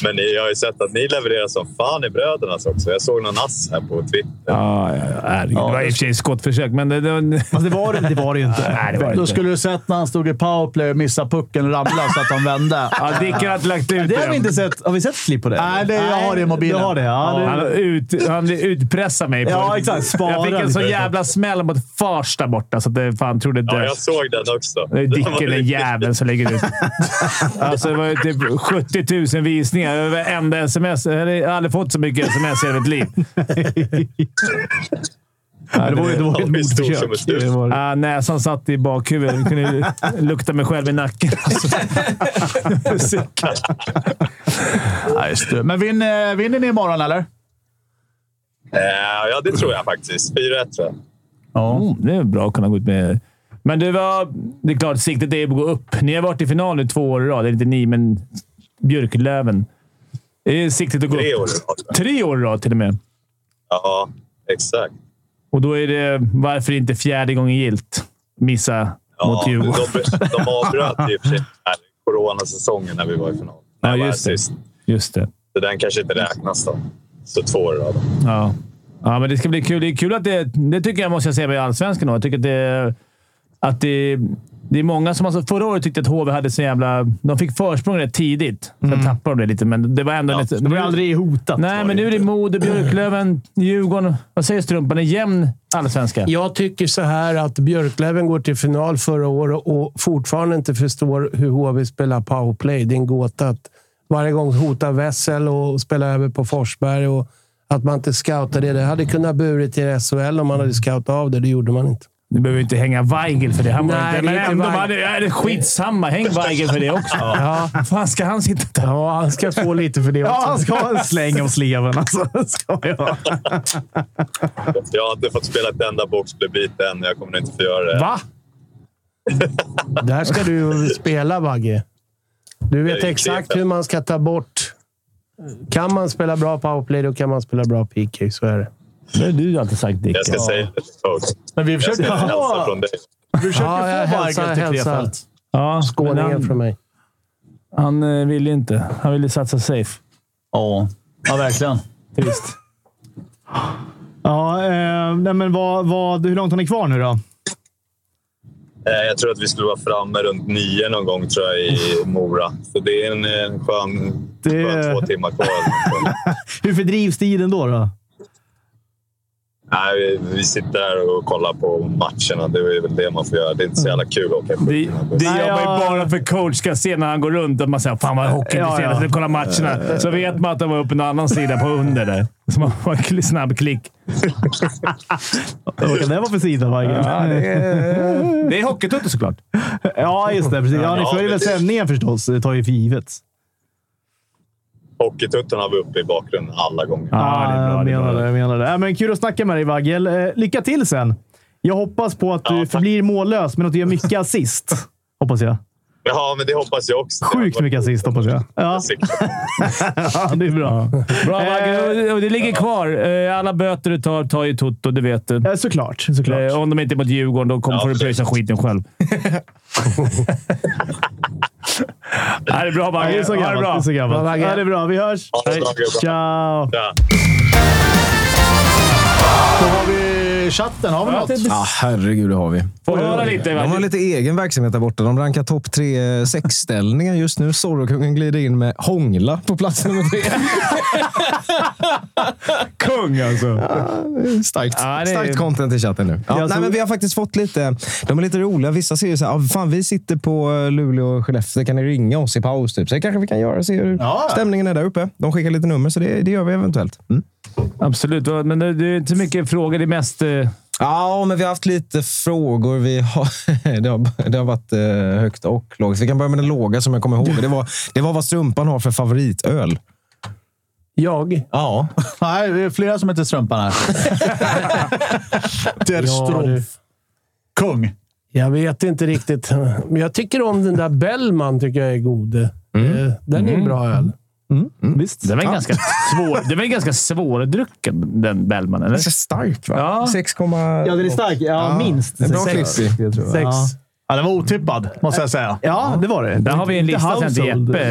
S7: Men ni- jag har ju sett att ni levererar som fan i brödernas också. Jag såg någon ass här på Twitter.
S4: Ja, ja, ja. Herregud. Det var i och för sig skottförsök, men... Det, det,
S3: Fast det var det, det, var det ju inte.
S4: nej, det var det
S1: Då
S4: inte.
S1: skulle du sett när han stod i powerplay och missade pucken och ramlade så att han vände.
S4: Ja, Dick har inte lagt ut
S3: Det har vi inte sett. Har vi sett klipp på det?
S1: Nej, det- jag har det i mobilen.
S3: Du har det, ja.
S4: Han,
S3: Det,
S4: ut, han utpressade mig. På,
S3: Ja, exakt. Spara
S4: jag fick en
S3: lite.
S4: så jävla smäll mot Farsta borta, så att det fan trodde inte...
S7: Ja, jag såg den också.
S4: Det är
S7: Den var
S4: Dicken, den
S7: riktigt-
S4: jäveln som lägger ut. Alltså, det var ju typ 70 000 visningar. Det var enda sms. Jag hade aldrig fått så mycket sms i hela mitt liv.
S3: det, var, ju- det var ett
S7: Det är stort som ett
S3: mordförsök.
S7: hus.
S3: Det var det.
S4: Ah, näsan satt i bakhuvudet. Jag kunde ju lukta mig själv i nacken. Alltså.
S1: Ja, just det. Men vinner, vinner ni imorgon, eller?
S7: Eh, Ja, det tror jag faktiskt. 4-1 tror jag.
S4: Mm, det är bra att kunna gå ut med. Men det, var, det är klart, siktet är att gå upp. Ni har varit i final nu två år i rad. Eller inte ni, men Björklöven. Är siktet att gå
S7: Tre
S4: upp?
S7: år i rad.
S4: Tre år i rad till och med.
S7: Ja, exakt.
S4: Och då är det varför inte fjärde gången gilt missa
S7: Ja,
S4: mot
S7: de,
S4: Djurgården.
S7: de avbröt ju i och för sig den här coronasäsongen när vi var i final. När
S4: Ja,
S7: jag var
S4: just det.
S7: assist.
S4: Just det.
S7: Så den kanske inte räknas då. Så två år i rad.
S4: Ja. ja, men det ska bli kul. Det är kul att det... Det tycker jag måste jag säga med allsvenskan. då. Jag tycker att det... Att det, det är många som... Alltså, förra året tyckte jag att HV hade så jävla... De fick försprång rätt tidigt. Sen tappade de det lite, men det var ändå... lite,
S3: Det var ju aldrig hotat.
S4: Nej, men nu är det Modo, Björklöven, Djurgården. Vad säger Strumpan? En jämn allsvenska?
S5: Jag tycker så här att Björklöven går till final förra året och fortfarande inte förstår hur HV spelar powerplay. Det är en gåta att varje gång hota Wessel och spela över på Forsberg och att man inte scoutar det. Det hade kunnat burit till SHL om man hade scoutat av det. Det gjorde man inte.
S4: Du behöver ju inte hänga Weigel för det. Han var
S5: Nej,
S4: inte,
S5: det är inte
S4: men ändå,
S5: Weigel.
S4: bara, det är skitsamma. Häng Weigel för det också. Ja. Fan, ska han sitta där?
S5: Ja, han ska få lite för det också.
S3: Ja, han ska ha en släng om sleven. Alltså, Det ska jag. ha.
S7: Jag har inte fått spela ett enda boxplaybeat än. Jag kommer inte få göra det.
S4: Va?
S5: Där ska du spela, Bagge. Du vet
S7: Det är
S5: exakt
S7: det.
S5: hur man ska ta bort... Kan man spela bra powerplay, då kan man spela bra PK. Så är det.
S4: Det har du alltid sagt, Dick.
S7: Jag ska säga det till folk.
S1: Men vi
S7: Jag ska
S1: försöker
S7: hälsa
S1: få,
S7: från dig.
S1: vi försöker
S5: Ja, jag
S1: få
S5: hälsar-
S1: Weigel till
S5: hälsar.
S1: Krefeld.
S4: Ja, men
S5: Skåningen
S4: han,
S5: från mig.
S4: han eh, ville inte. Han ville satsa safe.
S1: Ja. ja, verkligen.
S4: Trist.
S3: Ja, eh, nej, men vad, vad, hur långt har ni kvar nu då?
S7: Eh, Jag tror att vi skulle vara framme runt nio någon gång tror jag, i Mora. Så det är en, en skön,
S3: Det-
S7: skön två timmar kvar.
S3: Hur fördrivs tiden då? då?
S7: Nej, vi, vi sitter här och kollar på matcherna. Det är väl det man får göra. Det är inte så jävla kul att åka
S4: Det,
S7: skidor.
S4: det
S3: Nej,
S4: gör man ju
S3: jag-
S4: bara för coach ska se när han går runt och man säger “Fan vad
S3: Ja,
S4: hockeyintresserad
S3: ja. Eh.
S4: ja, kolla matcherna”. Så vet man att de var uppe på en annan sida på under där. Så man får en kli- snabb klick.
S3: Vad kan det vara för sida, Vagge?
S4: Det är Hockeytutto såklart.
S3: Ja, just det. Precis. Ja, ni
S7: Ja,
S3: följer väl
S7: precis.
S3: sändningen förstås. Det tar ju för givet.
S7: Hockeytutten har vi uppe i bakgrunden alla gånger.
S4: Ja, det är bra.
S3: jag
S4: Det är
S3: Ah, menar det.
S4: bra.
S3: Jag menar det. Ja, men kul att snacka med dig, Vaggel. Eh, Lycka till sen! Jag hoppas på att du
S7: Ja, tack.
S3: förblir mållös, men att du gör mycket assist. Hoppas jag.
S7: Ja, men det hoppas jag också.
S3: Sjukt mycket assist, hoppas jag. Ja, ja det är bra.
S4: Bra,
S3: Eh.
S4: Bagge. Och Det ligger kvar. Eh, Alla böter du tar, tar ju Toto. Det vet du.
S3: Eh, Såklart. såklart.
S4: Eh, Om de inte är mot Djurgården, då kommer
S7: Ja,
S4: får du pröjsa skiten själv. Ja, det är bra,
S3: Ja,
S4: Bagge.
S3: det är så
S4: Ha det
S3: gammalt. Det
S4: bra.
S3: är, så gammalt.
S5: Bra, Bagge.
S3: ja, det är bra. Vi hörs!
S7: Ja, det är bra, gubbar.
S3: Ciao!
S7: Ja.
S1: Då har vi chatten. Har vi
S4: Ja,
S1: något?
S4: det-
S6: Ja, herregud, det har vi.
S4: Får höra lite.
S6: De har
S4: Bagge.
S6: lite egen verksamhet där borta. De rankar topp tre eh, sexställningar just nu. Zorrokungen glider in med Hångla på plats nummer tre.
S4: Kung alltså.
S6: Starkt,
S4: Ja, det är-
S6: starkt content i chatten nu. Ja,
S3: Ja,
S6: nej,
S3: så-
S6: men vi har faktiskt fått lite... De är lite roliga. Vissa säger så här, ah, fan, vi sitter på eh, Luleå och Skellefteå. Kan ni ringa oss i paus? Typ. Så det kanske vi kan göra. Se hur
S1: Ja.
S6: stämningen är där uppe. De skickar lite nummer, så det, det gör vi eventuellt. Mm.
S4: Absolut, men det det är inte så mycket frågor. Det är mest... eh,
S6: Ja, men vi har haft lite frågor. Vi har, det, har, det har varit eh, högt och lågt. Vi kan börja med den låga som jag kommer ihåg. Det var, det var vad strumpan har för favoritöl.
S5: Jag?
S6: Ja.
S1: Nej, det är flera som heter Strumpan här. Der
S5: du.
S1: Strumpf. Kung.
S5: Jag vet inte riktigt. Men jag tycker om den där Bellman. tycker jag är god.
S4: Mm.
S5: Eh, Den är en bra öl.
S3: Visst?
S4: Den var ju ganska svår. Den var ju ganska svårdrucken, den Bellman. Eller?
S3: Alltså,
S6: Ganska stark, va?
S4: Ja.
S6: 6,
S3: Ja, den är stark. Ja, minst.
S6: En bra
S3: Sex.
S6: klipp.
S3: Jag tror,
S5: Sex.
S3: ja.
S1: Ja, den var otippad, måste jag säga.
S3: ja, det var det.
S4: Där har vi en lista sen till Jeppe.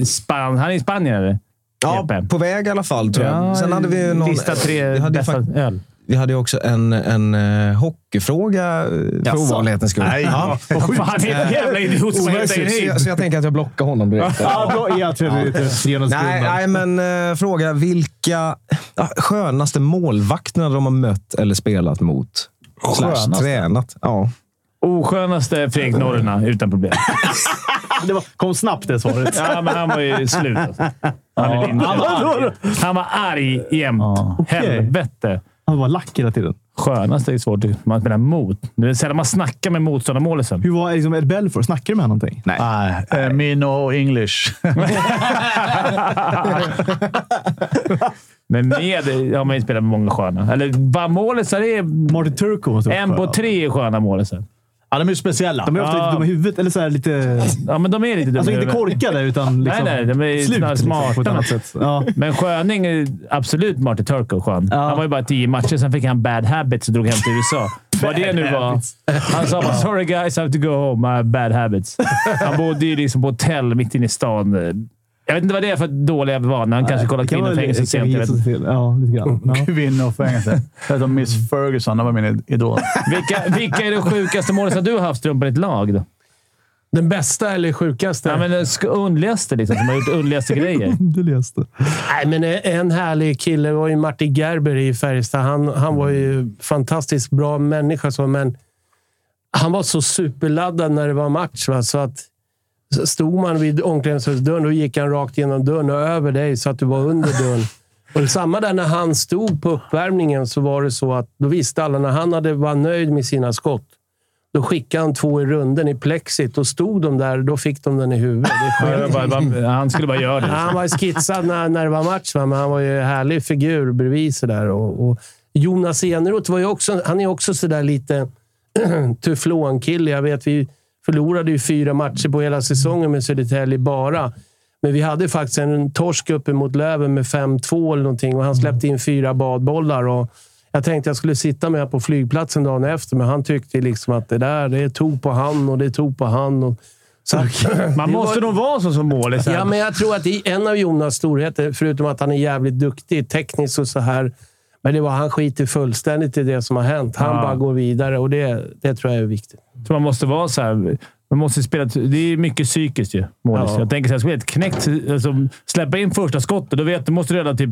S4: Eh, Span, han är i Spanien, eller?
S6: Ja,
S4: Jeppe.
S6: på väg i alla fall, tror jag. Sen hade vi ju någon...
S4: Lista tre
S6: vi hade, ju
S4: bästa
S6: fakt-
S4: öl.
S6: vi hade ju också en, en eh, hockeyfråga eh, för ovanlighetens skull.
S1: Nej,
S6: ja.
S1: vad sjukt.
S4: Fan, det är en jävla idiot som
S6: Omöjligt,
S4: heter
S6: så,
S4: hit.
S6: jag, så jag tänker att jag blockar honom direkt.
S3: Ja, bra. Ja, tror jag det är 300
S6: Nej,
S3: sekunder.
S6: nej, men eh, fråga vilka ja, skönaste målvakterna de har mött eller spelat mot? Slash tränat. Ja.
S4: Oskönaste Fredrik Norrena, utan problem.
S3: Det var, kom snabbt det svaret.
S4: Ja, men han var ju slut. Alltså. Han, är inte-
S3: han var arg.
S4: han var arg jämt. Helvete.
S3: Han var lack hela tiden.
S4: Skönaste är svårt att man spelar mot. Det är sällan man snackar med motståndarmålisen.
S3: Hur var liksom, Ed Belfour? Snackade du med honom någonting? Nej.
S1: Nej, eh, Mino English.
S4: Men med har man ju spelat med många sköna. Eller vad målisar är...
S3: Martin Turco måste vara
S4: En på
S3: skön.
S4: tre är sköna målisar.
S1: Ja, de är ju speciella.
S3: De är ofta
S4: Ja.
S3: lite dumma i huvudet. Eller så här lite...
S4: Ja, men de är lite dumma
S3: Alltså
S4: i
S3: inte
S4: huvudet.
S3: korkade, utan liksom
S4: nej, de är
S3: slut
S4: snarare
S3: Liksom, på ett
S4: smarta.
S3: annat sätt. Ja.
S4: Men Sköning är absolut Martin Turco skön.
S3: Ja.
S4: Han var ju bara tio matcher, sen fick han bad habits och drog hem till USA. Vad det nu var. Han sa bara “Sorry guys, I have to go home. I have bad habits”. Han bodde ju liksom på hotell mitt inne i stan. Jag vet inte vad det är för dåliga vanor. Han kanske kollar
S3: Det kan vara
S4: kvinnofängelse
S3: lite-
S4: sent. jag vet
S3: gissa
S4: inte. Mm.
S3: sig till. Ja, lite grann. Ja.
S1: Kvinnofängelse. Jag heter Miss Ferguson. Det var min idol.
S4: Vilka, vilka är de sjukaste målen du har haft Strumpan, i ditt lag? Då?
S5: Den bästa eller sjukaste?
S4: Ja, men den sk- underligaste liksom, som har gjort underligaste grejer.
S3: Underligaste.
S5: Nej, men en härlig kille var ju Martin Gerber i Färjestad. Han, han var ju fantastiskt bra människa, så, men han var så superladdad när det var match. Va? Så att så stod man vid omklädningsrumsdörren, då gick han rakt genom dörren och över dig så att du var under dörren. Och samma där när han stod på uppvärmningen så var det så att då visste alla när han hade var nöjd med sina skott. Då skickade han två i runden i plexit och stod de där, då fick de den i huvudet. Det sket
S4: Jag bara- bara- Han skulle bara göra det.
S5: Ja, han var ju skitsad när, när det var match, va? men han var ju en härlig figur bredvid sådär. Och, och Jonas Eneroth var ju också, han är också sådär lite teflonkille. Jag vet, vi förlorade ju fyra matcher på hela säsongen med Södertälje bara. Men vi hade faktiskt en torsk uppe mot Löven med 5-2 eller någonting och han släppte in fyra badbollar. Och jag tänkte jag skulle sitta med honom på flygplatsen dagen efter, men han tyckte liksom att det där, det tog på han och det tog på han. Och, så att-
S4: Man
S5: det
S4: måste
S5: var-
S4: nog vara så som målis.
S5: Ja, men jag tror att i en av Jonas storheter, förutom att han är jävligt duktig tekniskt och så här, men det var han skiter fullständigt i det som har hänt. Han
S4: Ja.
S5: bara går vidare och det, det tror jag är viktigt.
S4: Så man måste vara så här. Man måste spela, det är mycket psykiskt ju, målis.
S5: Ja.
S4: Jag tänker så här, skulle jag ett knäckt... Alltså, släppa in första skottet, då vet du måste du redan typ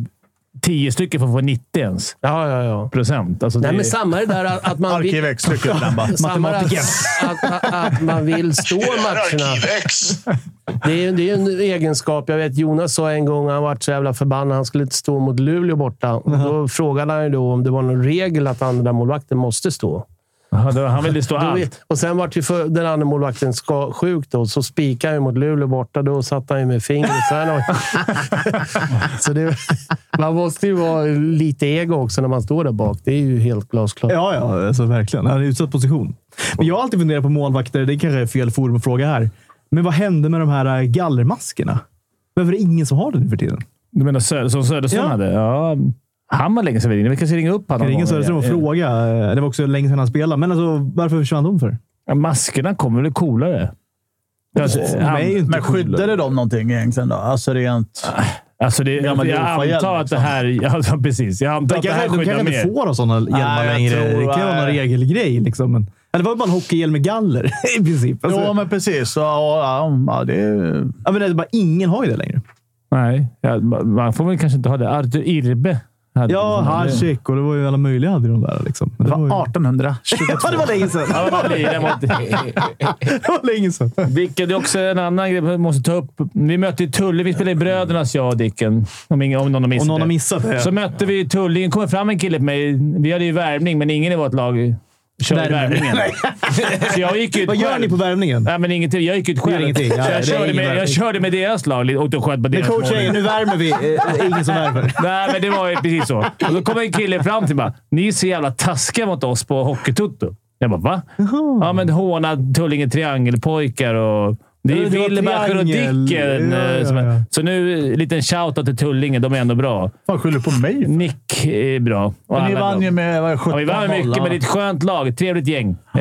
S4: 10 stycken för att få 90 ens
S5: Ja, ja, ja.
S4: procent. Alltså
S5: Nej,
S4: det-
S5: men samma är det där att, att man... vill-
S1: Arkivex trycker på den bara.
S5: Samma är
S4: Matematiker.
S5: att, att, att, att man vill stå matcherna. Det är ju det är ju en egenskap. Jag vet Jonas sa en gång, han vart så jävla förbannad, han skulle inte stå mot Luleå borta. Och Då frågade han ju då om det var någon regel att andra målvakten måste stå.
S4: Ja, då- Han ville stå
S5: Då vi-
S4: allt.
S5: och sen vart ju för, den andra målvakten ska, sjuk då, så spikade han ju mot Luleå borta. Då satt han ju med fingret så här. så det, man måste ju vara lite ego också när man står där bak. Det är ju helt glasklart.
S3: Ja, ja, alltså verkligen. Han är i utsatt position. Men jag har alltid funderat på målvakter. Det kanske är fel forum att fråga här. Men vad hände med de här eh, gallermaskerna? Varför är det ingen som har det nu för tiden?
S4: Du menar Sö- som Söderström
S3: Ja.
S4: hade? Ja. Han var länge sedan vi ringde. Vi kanske ringer upp honom.
S3: Kan ringa Söderström och fråga. Eh, Det var också länge sedan han spelade, men alltså, varför försvann de för?
S4: Ja, Maskerna kommer väl coolare? Alltså, han-
S3: är ju inte
S1: Men skyddade de någonting egentligen då? Alltså rent...
S4: Alltså det,
S1: Ja, men det är liksom.
S4: jag
S1: oförhjälp,
S4: antar att det här... Ja, precis. Jag antar
S3: De
S4: att det här
S3: kanske, de
S4: skyddar
S3: kanske
S4: mer.
S3: inte får ha sådana hjälmar
S1: Nej, jag
S3: längre.
S1: tror- eh,
S3: det kan ju vara någon
S1: nej.
S3: regelgrej. Liksom. Men, ja, det var ju bara en hockeyhjälm med galler i princip. Alltså, Mm.
S1: Ja, men precis. Ja, ja, ja, det är...
S3: jag menar, det är bara, ingen har ju det längre.
S4: Nej, ja, ma- man får väl kanske inte ha det. Arthur Irbe. hade
S3: Ja,
S4: det.
S3: Hasek och det var ju alla möjliga hade de där. Liksom. Men
S1: Det
S3: Det var ju-
S1: var 1822.
S3: Ja, det var länge sedan.
S4: Ja, men man lirar mot-
S3: Det var länge sedan.
S4: Vilket är också en annan grej vi måste ta upp. Vi mötte ju Tullinge. Vi spelade i Brödernas, jag och Dicken. Om, ingen, om någon har missat
S3: Om någon
S4: det.
S3: har missat det.
S4: Så mötte vi Tullinge. kom fram en kille till mig. Vi hade ju värvning, men ingen i vårt lag körde värvningen. Så jag gick ut
S3: Vad gör
S4: själv.
S3: ni på värmningen?
S4: Nej, men ingenting. Jag gick ut
S3: Gör
S4: själv.
S3: ingenting. Ja,
S4: Så
S3: det är
S4: jag, körde
S3: ingen
S4: med, jag
S3: värvning.
S4: körde med deras lag lite och då sköt på
S3: Men
S4: deras mål.
S3: coachen, nu värmer vi. Eh, eh, Ingen som värmer.
S4: Nej, men det var ju precis så. Och då kom en kille fram till mig bara, ni är så jävla taskiga mot oss på Hockeytutto. Jag bara, va? Ja, men håna Tullinge triangelpojkar och... Det
S3: Ja,
S4: är
S3: det var
S4: Wilbacher och
S3: triangel.
S4: Dicken.
S3: Ja,
S4: eh,
S3: ja,
S4: som är-
S3: ja.
S4: Så nu, liten shoutout till Tullinge. De är ändå bra.
S1: Fan, skyller på mig?
S4: Nick är bra. Och
S1: Men ni
S4: alla är bra.
S1: vann ju med vad, 17
S4: Ja, vi vann mycket, men det är ett skönt lag. Ett trevligt gäng. Eh, för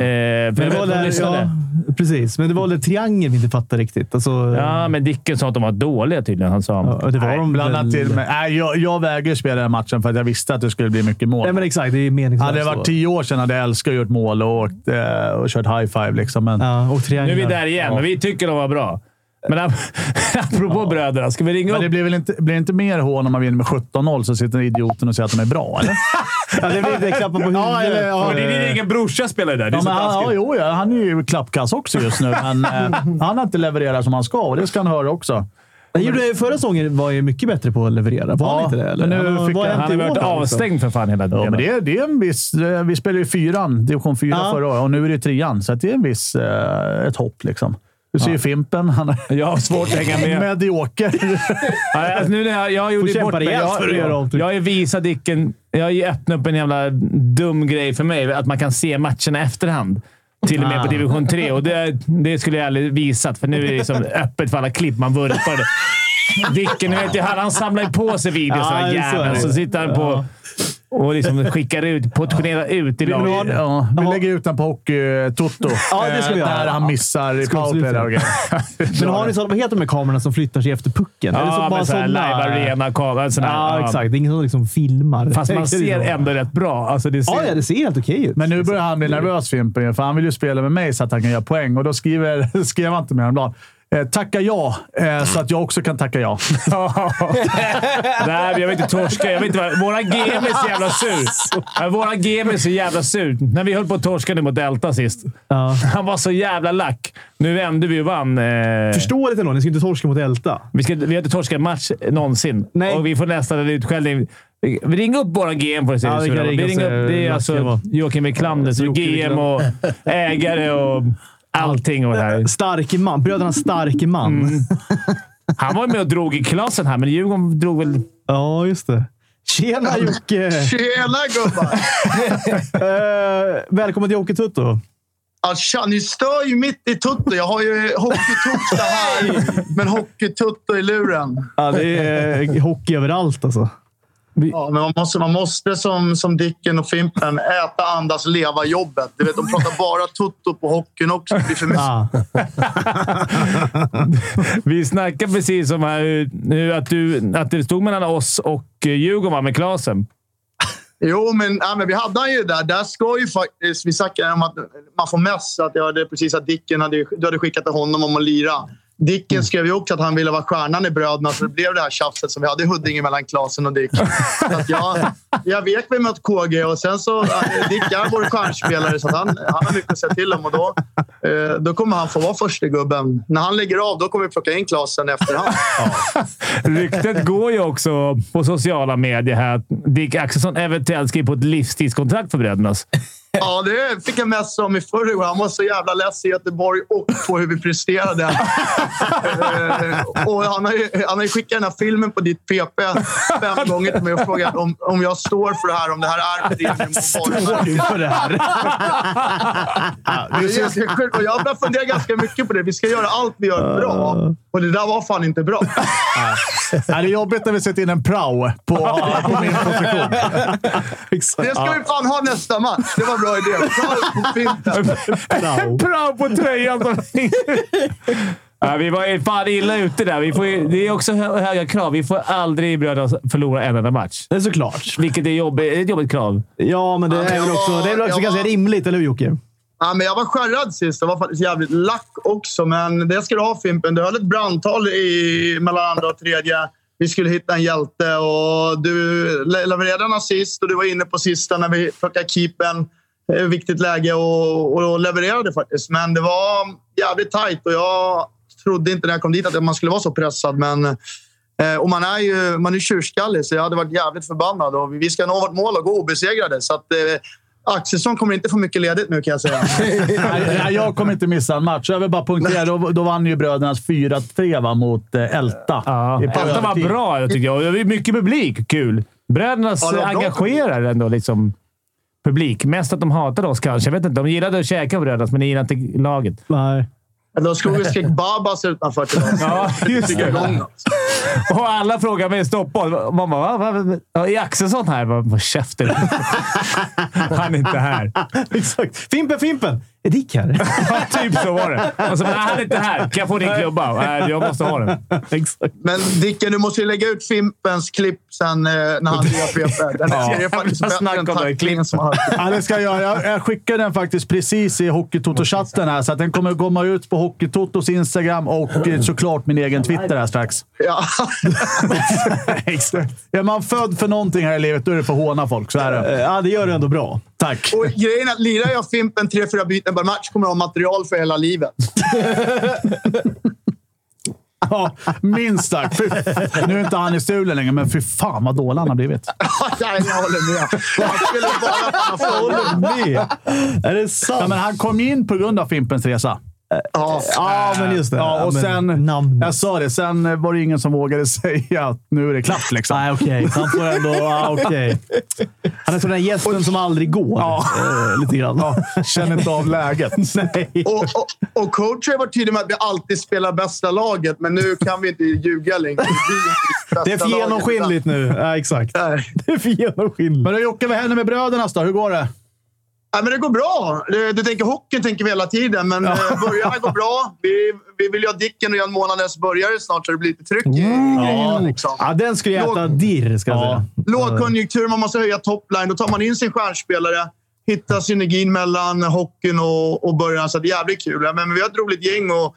S3: Men
S4: jag vet
S3: det var
S4: att de
S3: där,
S4: lyssnade.
S3: ja, precis, men det var väl triangel vi inte fattade riktigt. Alltså,
S4: Ja, men Dicken sa att de var dåliga tydligen. Han sa.
S3: ja, det var
S1: Nej,
S3: de väl-
S1: blandat till med. Nej, jag, jag vägrar spela den här matchen för att jag visste att det skulle bli mycket mål.
S3: Nej, men exakt. Det är meningslöst.
S1: hade det varit tio år sedan hade jag älskat att gjort mål och, åkt, eh, och kört high-five. Liksom. Men
S3: Ja, och
S4: Nu
S3: trianglar.
S4: är vi där igen, men vi tycker de var bra. Men ap- apropå bröderna, ska vi ringa
S1: men
S4: upp?
S1: det blir väl inte, blir inte mer hån om man vinner med 17-0 så sitter idioten och säger att de är bra, eller?
S3: Ja, det blir lite klappar på huvudet.
S1: Ja, eller- ja,
S4: Ja, det är din egen brorsa spelar ju där. Det är
S1: Ja,
S4: så
S1: men han, ja,
S4: taskigt.
S1: jo, ja, han är ju klappkass också just nu, men eh, han har inte levererat som han ska och det ska han höra också.
S3: Han gjorde, förra säsongen var ju mycket bättre på att leverera. Var han
S1: Ja,
S3: inte det? Eller?
S1: men nu
S3: han, har-
S1: fick
S3: vad har
S1: han-
S3: hänt
S4: Han har
S3: i
S4: varit
S3: år då, liksom?
S4: avstängd för fan hela tiden.
S1: Ja, men det, är- det är en viss, eh, vi spelade ju fyran, division fyra
S3: Ja.
S1: förra året och nu är det trean, så att det är en viss, eh, ett hopp. Liksom. Du ser ju Fimpen. Han är
S4: Jag har svårt att hänga med.
S1: medioker.
S4: Ja, Alltså, nu när jag, jag har
S3: Får
S4: gjort
S3: kämpa
S4: bort mig.
S3: rejält för att göra
S4: Jag,
S3: avtryck.
S4: jag har ju visat Dicken... Jag har ju öppnat upp en jävla dum grej för mig. Att man kan se matcherna i efterhand. Till och med på
S3: Ah.
S4: division 3. Och det, det skulle jag aldrig visat, för nu är det som öppet för alla klipp man vurpade. Dicken, ni vet ju, han, han samlar ju på sig videos,
S3: Ja,
S4: den här
S3: det är så
S4: jäveln.
S3: det är.
S4: Så sitter han på och liksom skickar ut, portionerar ut i
S1: Vi,
S4: laget.
S1: ja, vi lägger ut den på Hockey-Toto.
S3: Ja, det ska vi
S1: Eh,
S3: göra.
S1: Där han missar i
S3: Ska vi
S1: powerplay.
S3: sluta?
S1: där och grejer.
S3: Men har ni sådana, vad heter de här kamerorna som flyttar sig efter pucken? Är det så
S4: Ja,
S3: bara
S4: men såhär
S3: sådana-
S4: live-arena-kamera. sån här,
S3: Ja,
S4: ja.
S3: exakt. Det är ingen som liksom filmar.
S4: Fast man ser
S3: Ja,
S4: ändå rätt bra. Alltså, det ser,
S3: ja, det ser helt okej ut.
S1: Men nu börjar han bli nervös, Fimpen, ju, för han vill ju spela med mig så att han kan göra poäng. Och då skriver, skrev han till mig häromdagen. Eh, tacka ja, eh, så att jag också kan tacka ja.
S4: Nej, men jag vill inte torska. Jag vet inte vad. Våra GM är så jävla sur. Ja, Våra GM är så jävla sur. När vi höll på att torska nu mot Delta sist.
S3: Ja.
S4: Han var så jävla lack. Nu vände vi och vann. Eh,
S3: Förståeligt ändå. Ni ska inte torska mot Älta.
S4: vi, ska, vi har inte torskat en match någonsin.
S3: Nej.
S4: Och vi får nästan en utskällning. Vi ringer upp våra GM får du se
S3: Ja,
S4: hur
S3: vi
S4: sura
S3: kan
S4: de är.
S3: ringa eh,
S4: Vi
S3: och
S4: ringer
S3: se
S4: upp.
S3: hur lack jag
S4: Det är alltså
S3: var.
S4: Joakim Wiklander, som är
S3: Jocke
S4: GM
S3: Alltså, Wiklander.
S4: och ägare och allting. Och det här.
S3: Starke man. Bröderna Starke man.
S4: Han var ju med och drog i klassen här, men Djurgården drog väl...
S3: Ja, just det. Tjena Jocke!
S8: Tjena gubbar!
S3: Eh, välkommen till Jocke Tutto.
S8: Ja, tja, ni stör ju mitt i tutto. Jag har ju hockeytutta här, men hockeytutto i luren.
S3: Ja, det är Eh, hockey överallt alltså.
S8: Ja, men man måste, man måste som, som Dicken och Fimpen äta, andas, leva jobbet. Du vet, de pratar bara tutto på hockeyn också. Det blir för mycket.
S3: Ah.
S4: Vi snackade precis om här, nu att, du, att det stod mellan oss och eh, Djurgården va, med Klasen.
S8: Jo, men, ja, men vi hade han ju där. Där ska ju faktiskt... Vi snackade om att man får mess. Att jag hade precis att Dicken hade, du hade skickat till honom om att lira. Dicken skrev ju också att han ville vara stjärnan i bröderna, så det blev det här tjafset som vi hade i Huddinge mellan Klasen och Dick. Så att jag, jag vek mig mot KG och sen så... Dick är vår stjärnspelare, så att han, han har mycket att säga till om. Och då, eh, då kommer han få vara första gubben. När han lägger av, då kommer vi plocka in Klasen efterhand.
S4: Ryktet går ju också på sociala medier här att Dick Axelsson eventuellt skriver på ett livstidskontrakt för Brödernas.
S8: Ja, det fick jag mest om i förrgår. Han var så jävla less i Göteborg och på hur vi presterade. Eh, och han, har ju, han har ju skickat den här filmen på ditt PP fem gånger till mig och frågat om, om jag står för det här, om det här är premiumvarumärke.
S3: Du för det här.
S8: Det är jättesjukt. Och Jag har funderat ganska mycket på det. Vi ska göra allt vi gör bra. Och det där var fan inte bra.
S1: Ja, det är jobbigt när vi sätter in en prao på, på min position.
S8: Det ska vi fan ha nästa match. Det var en bra idé. Bra på filmen.
S4: En prao på tröjan! som- Ja, vi var ju fan illa ute där. Vi får, ju- det är också hö- höga krav. Vi får aldrig i Brödernas förlora en enda match.
S3: Det är såklart.
S4: Vilket är jobbigt, ett jobbigt krav.
S3: Ja, men det är väl också, det är väl också
S8: Ja.
S3: ganska rimligt, eller hur Jocke?
S8: Ja, men jag var skärrad sist. Jag var faktiskt jävligt lack också, men det ska du ha Fimpen. Du höll ett brandtal i, mellan andra och tredje. Vi skulle hitta en hjälte och du le- levererade en assist och du var inne på sista när vi plockade keepern. Eh, Viktigt läge och, och levererade faktiskt. Men det var jävligt tajt och jag trodde inte när jag kom dit att man skulle vara så pressad. Men, eh, och man är ju man är tjurskallig så jag hade varit jävligt förbannad. Och vi ska nå vårt mål och gå obesegrade. Så att, eh, Axelsson kommer inte få mycket ledigt nu kan jag säga.
S1: Nej, nej, jag kommer inte missa en match. Jag vill bara punktera. Då, då vann ju brödernas 4-3 va, mot eh, Älta. I på
S4: Detta var
S1: övertid.
S4: bra, jag tycker jag. Och det är Mycket publik. Kul. Brödernas
S8: Ja, det var bra
S4: engagerar ändå liksom publik. Mest att de hatade oss kanske. Jag vet inte. De gillade att käka på Brödernas, men de gillade inte laget.
S3: Nej.
S8: Då skulle vi skrek Babas utanför till oss.
S4: Ja, just
S8: Tycker
S4: det.
S8: igång oss.
S4: Och alla frågar mig i Stockholm. Man bara, va, va, va? Ja, Är Axelsson här? Jag bara, Vad käften. Han är inte här.
S3: Exakt. Fimpen, Fimpen! Är Dick här?
S4: Ja, typ så var det. Och så, bara, "Nej, han är inte här. Kan jag få din klubba? Nej, jag måste ha den.
S3: Exakt.
S8: Men Dicken, du måste ju lägga ut Fimpens klipp sen eh, när han lirar PP. Den
S4: Ja.
S8: ja. är faktiskt
S4: Jag
S8: bättre än
S4: snackar om det här
S8: tacklingen som han
S1: Ja, det ska jag. göra. Jag, jag skickade den faktiskt precis i Hockeytoto-chatten här, så att den kommer att komma ut på Hockeytotos Instagram och eh, såklart min egen Twitter här strax.
S8: ja.
S1: Exakt. Är man född för någonting här i livet, då är det för att håna folk. Så är det.
S3: Eh, Ja, det gör du ändå bra.
S1: Tack.
S8: Och grejen är att lirar jag Fimpen tre, fyra byten per match kommer jag ha material för hela livet.
S1: Ja, minst sagt. Fy, nu är inte han i stulen längre, men fy fan vad dålig han har blivit.
S8: Nej, jag håller med. Han skulle bara fan få
S3: Är det
S1: Ja,
S3: sant?
S1: men han kom in på grund av Fimpens Resa.
S8: ja.
S3: Ja, men just det.
S1: Ja, och
S3: men
S1: sen...
S3: Namnet.
S1: Jag sa det, sen var det ingen som vågade säga att nu är det klart liksom.
S3: Nej, okej. Han får ändå... Ja, okej. Han är som den där gästen som aldrig går. Ja. lite grann.
S1: Känner inte av läget.
S3: Nej.
S8: Och, och, och coach har varit tydlig med att vi alltid spelar bästa laget, men nu kan vi inte ljuga längre. Vi är
S3: Det är
S8: bästa
S3: för
S8: laget.
S3: genomskinligt nu. Ja, exakt.
S8: Nej.
S3: Det är för genomskinligt.
S1: Men då, Jocke, vad händer med bröderna då? Hur går det?
S8: Ja, men det går bra. Du, du tänker hockeyn tänker vi hela tiden, men eh, börjarna går bra. Vi, vi vill ju ha Dicken och Jan Månadens börjare snart så det blir lite tryck i grejerna. Liksom.
S3: Mm. Ja, den skulle jag äta dirr, ska jag säga.
S8: Lågkonjunktur, man måste höja topline. Då tar man in sin stjärnspelare, hittar synergin mellan hockeyn och, och början. Så det är jävligt kul. Ja, Men vi har ett roligt gäng och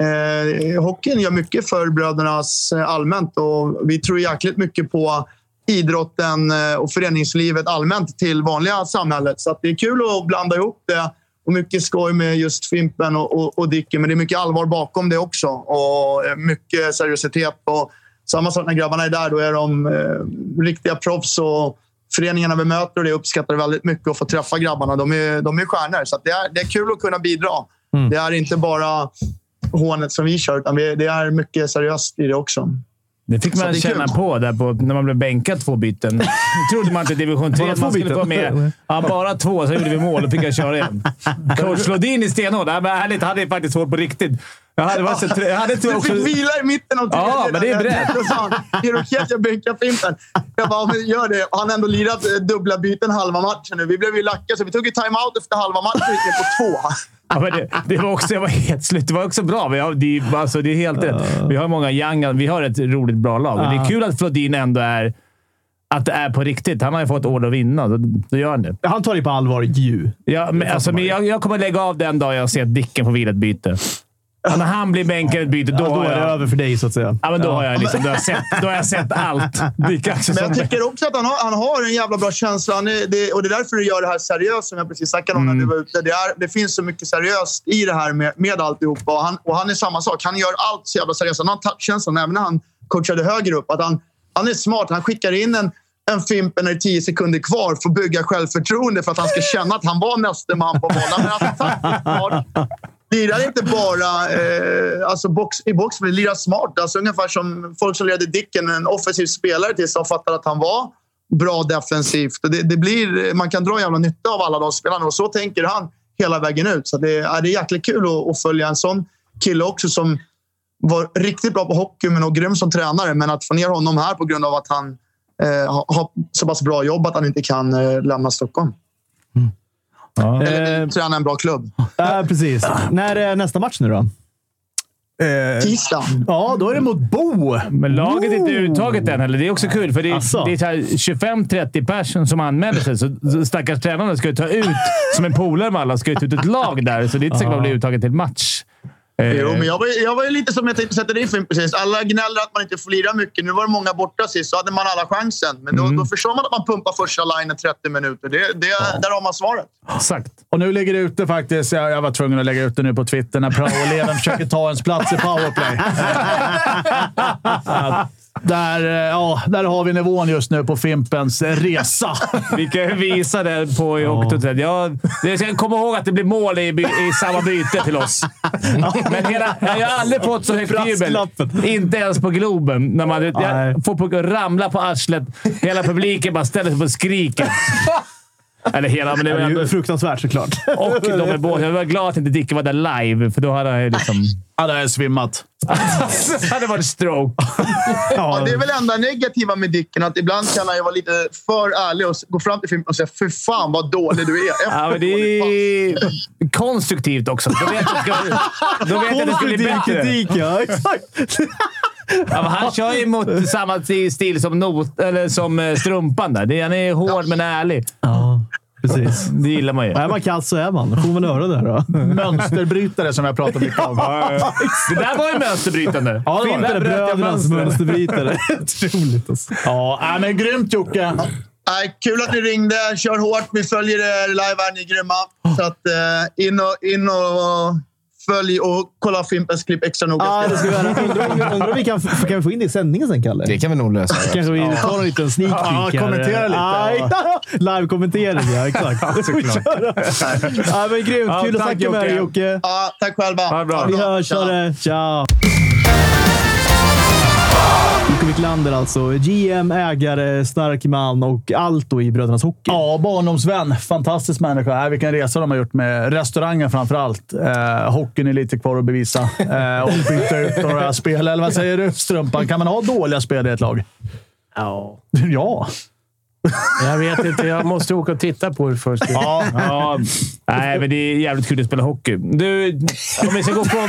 S8: eh, hockeyn gör mycket för brödernas eh, allmänt. Och vi tror jäkligt mycket på idrotten eh, och föreningslivet allmänt till vanliga samhället. Så att det är kul att blanda ihop det. Och mycket skoj med just Fimpen och, och, och Dicken, men det är mycket allvar bakom det också. Och eh, mycket seriositet. Och samma sak när grabbarna är där, då är de eh, riktiga proffs. Och föreningarna vi möter och det uppskattar väldigt mycket att få träffa grabbarna. De är, de är stjärnor, så att det, är, det är kul att kunna bidra.
S4: Mm.
S8: Det är inte bara hånet som vi kör, utan vi, det är mycket seriöst i det också.
S4: Det fick
S8: Så
S4: man
S8: det är
S4: känna
S8: kul.
S4: på, där på när man blev bänkad två byten. Det trodde man inte i division 3
S3: Bara
S4: att man
S3: två
S4: skulle
S3: byten?
S4: vara med. Ja, bara två. Sen gjorde vi mål och fick jag köra igen. Coach Lodin i stenhård. Nej, men Härligt. Han är faktiskt svårt på riktigt. Jag hade, varit så trö- jag hade tur
S8: Du
S4: också...
S8: fick vila i mitten av tredje.
S4: Ja, men det är brett.
S8: Då sa han, är det okej att jag bänkar Fimpen? Jag bara, "Ja, men gör det. Han har ändå lirat eh, dubbla byten halva matchen nu. Vi blev ju lacka, så vi tog ju timeout efter halva matchen och gick ner på två.
S4: Ja, men det, det var också, jag var helt slut. Det var också bra. Vi har, det, är ju- alltså, det är helt rätt. Vi har många young. Vi har ett roligt, bra lag. Och det är kul att Flodin ändå är... Att det är på riktigt. Han har ju fått order att vinna. Då, då gör han det.
S3: Han tar det på allvar, ju.
S4: Ja, men, alltså, men jag, jag kommer lägga av den dag jag ser att Dicken får vila ett byte. Ja, När han blir bänkutbyte, då,
S3: Ja, då
S4: har
S3: är det
S4: jag...
S3: över för dig, så att säga.
S4: Ja, men då, har jag liksom, då, har jag sett, då har jag sett allt. Det är kanske
S8: Men
S4: som
S8: jag tycker också att han har, han har en jävla bra känsla. Han är, det, och det är därför du gör det här seriöst som jag precis snackade om
S4: Mm.
S8: när du var ute. Det, är, det finns så mycket seriöst i det här med, med alltihopa. Och han, och han är samma sak. Han gör allt så jävla seriöst. Han har touchkänslan även när han coachade högre upp. Att han, han är smart. Han skickar in en, en Fimpen när det är tio sekunder kvar för att bygga självförtroende för att han ska känna att han var näste man på bollen. Men han är taktiskt smart. Lirar inte bara eh, alltså box, i box, men lirar smart. Alltså ungefär som folk som leder Dicken, en offensiv spelare tills de fattar att han var bra defensivt. Och Det, det blir, man kan dra jävla nytta av alla de spelarna och så tänker han hela vägen ut. Så det, ja, det är jäkligt kul att, att följa en sån kille också som var riktigt bra på hockey men och grym som tränare. Men att få ner honom här på grund av att han eh, har, har så pass bra jobb att han inte kan eh, lämna Stockholm. Eller
S3: Eh,
S8: träna en bra klubb.
S3: Ja, precis. När är nästa match nu då?
S8: Tisdag.
S3: Ja, då är det mot Bo.
S4: Men laget är inte uttaget än heller. Det är också kul, för det är,
S3: Asså.
S4: det är så här 25-30 personer som anmäler sig. Så så stackars tränarna ska ju ta ut, som en polare med alla, ska ju ta ut ett lag där. Så det är inte säkert att man blir uttagen till match. Eh,
S8: Jo, men jag var, ju- jag var ju lite som jag tänkte sätta dig för precis. Alla gnäller att man inte får lira mycket. Nu var det många borta sist, så hade man alla chansen. Men
S4: Mm.
S8: då, då förstår man att man pumpar första linen 30 minuter. Det, det, Där har man svaret.
S4: Exakt.
S1: Och nu ligger det ute faktiskt. Jag, jag var tvungen att lägga ut det nu på Twitter när praoeleven försöker ta ens plats i powerplay. där, eh, ja, där har vi nivån just nu på Fimpens resa.
S4: Vi kan ju visa det på i Octotred. Jag, jag ska komma ihåg att det blir mål i, by- i samma byte till oss. Men hela, jag har aldrig fått så högt jubel.
S3: Brasklappen.
S4: Inte ens på Globen. När man,
S3: Nej.
S4: jag får på, ramla på arslet. Hela publiken bara ställer sig på och skriker. Eller hela, men det
S3: Det
S4: var
S3: är
S4: ändå...
S3: ju fruktansvärt såklart.
S4: Och de är båda. Jag var glad att inte Dicke var där live, för då hade han ju liksom...
S1: Ja, det är svimmat.
S4: det hade varit stroke.
S8: Ja, det är väl enda negativa med Dicken, att ibland kan han ju vara lite för ärlig och s- gå fram till filmen och säga “Fy fan vad dålig du är”. Efter
S4: Ja, men det
S8: dåligt
S4: är konstruktivt också. Då vet jag att det ska- då vet jag att det skulle bli
S3: Konstruktiv
S4: bättre.
S3: kritik, ja. Exakt.
S4: Ja, men han kör ju mot samma ti- stil som, not, eller som eh, strumpan. Där. Det- Han är hård men ärlig.
S3: Ja, precis.
S4: Det gillar man ju.
S3: Är man kass så är man. Då får man väl höra det då.
S1: Mönsterbrytare som jag pratade mycket om.
S4: Det där var ju mönsterbrytande.
S3: Ja, det var det. Brödernas mönsterbrytare. Otroligt alltså.
S1: Ja, nej, men grymt Jocke!
S8: Nej, kul att ni ringde. Kör hårt. Vi följer er live här. Ni är grymma.
S4: Oh.
S8: Så att, eh, in, och, in och följ och kolla Fimpens klipp extra noga.
S3: Ja, det ska vi göra. Undrar undrar om vi kan, f- kan vi få in det i sändningen sen, Kalle?
S6: Det kan vi nog lösa.
S3: Kanske vi tar en liten sneak
S1: Ja,
S3: peek här.
S1: kommentera lite,
S3: Ja, ja. Live-kommentering, ja. Exakt. ja, men grymt.
S4: Ja,
S3: Kul att
S4: tack,
S3: snacka med dig, Jocke.
S8: Ja, tack själva.
S4: det bra.
S3: Vi hörs. Ha det. Ciao! Jocke Wiklander alltså. GM, ägare, stark man och allt då i Brödernas Hockey.
S1: Ja, barndomsvän. Fantastisk människa. Nej, vilken resa de har gjort med restaurangen framför allt. Eh, hockeyn är lite kvar att bevisa. Eh, och byta ut några spel. Eller vad säger du, Strumpan? Kan man ha dåliga spel i ett lag?
S5: Ja.
S1: Ja.
S5: Jag vet inte. Jag måste åka och titta på det först.
S4: Ja. ja. Nej, men det är jävligt kul att spela hockey. Du, om vi ska gå från...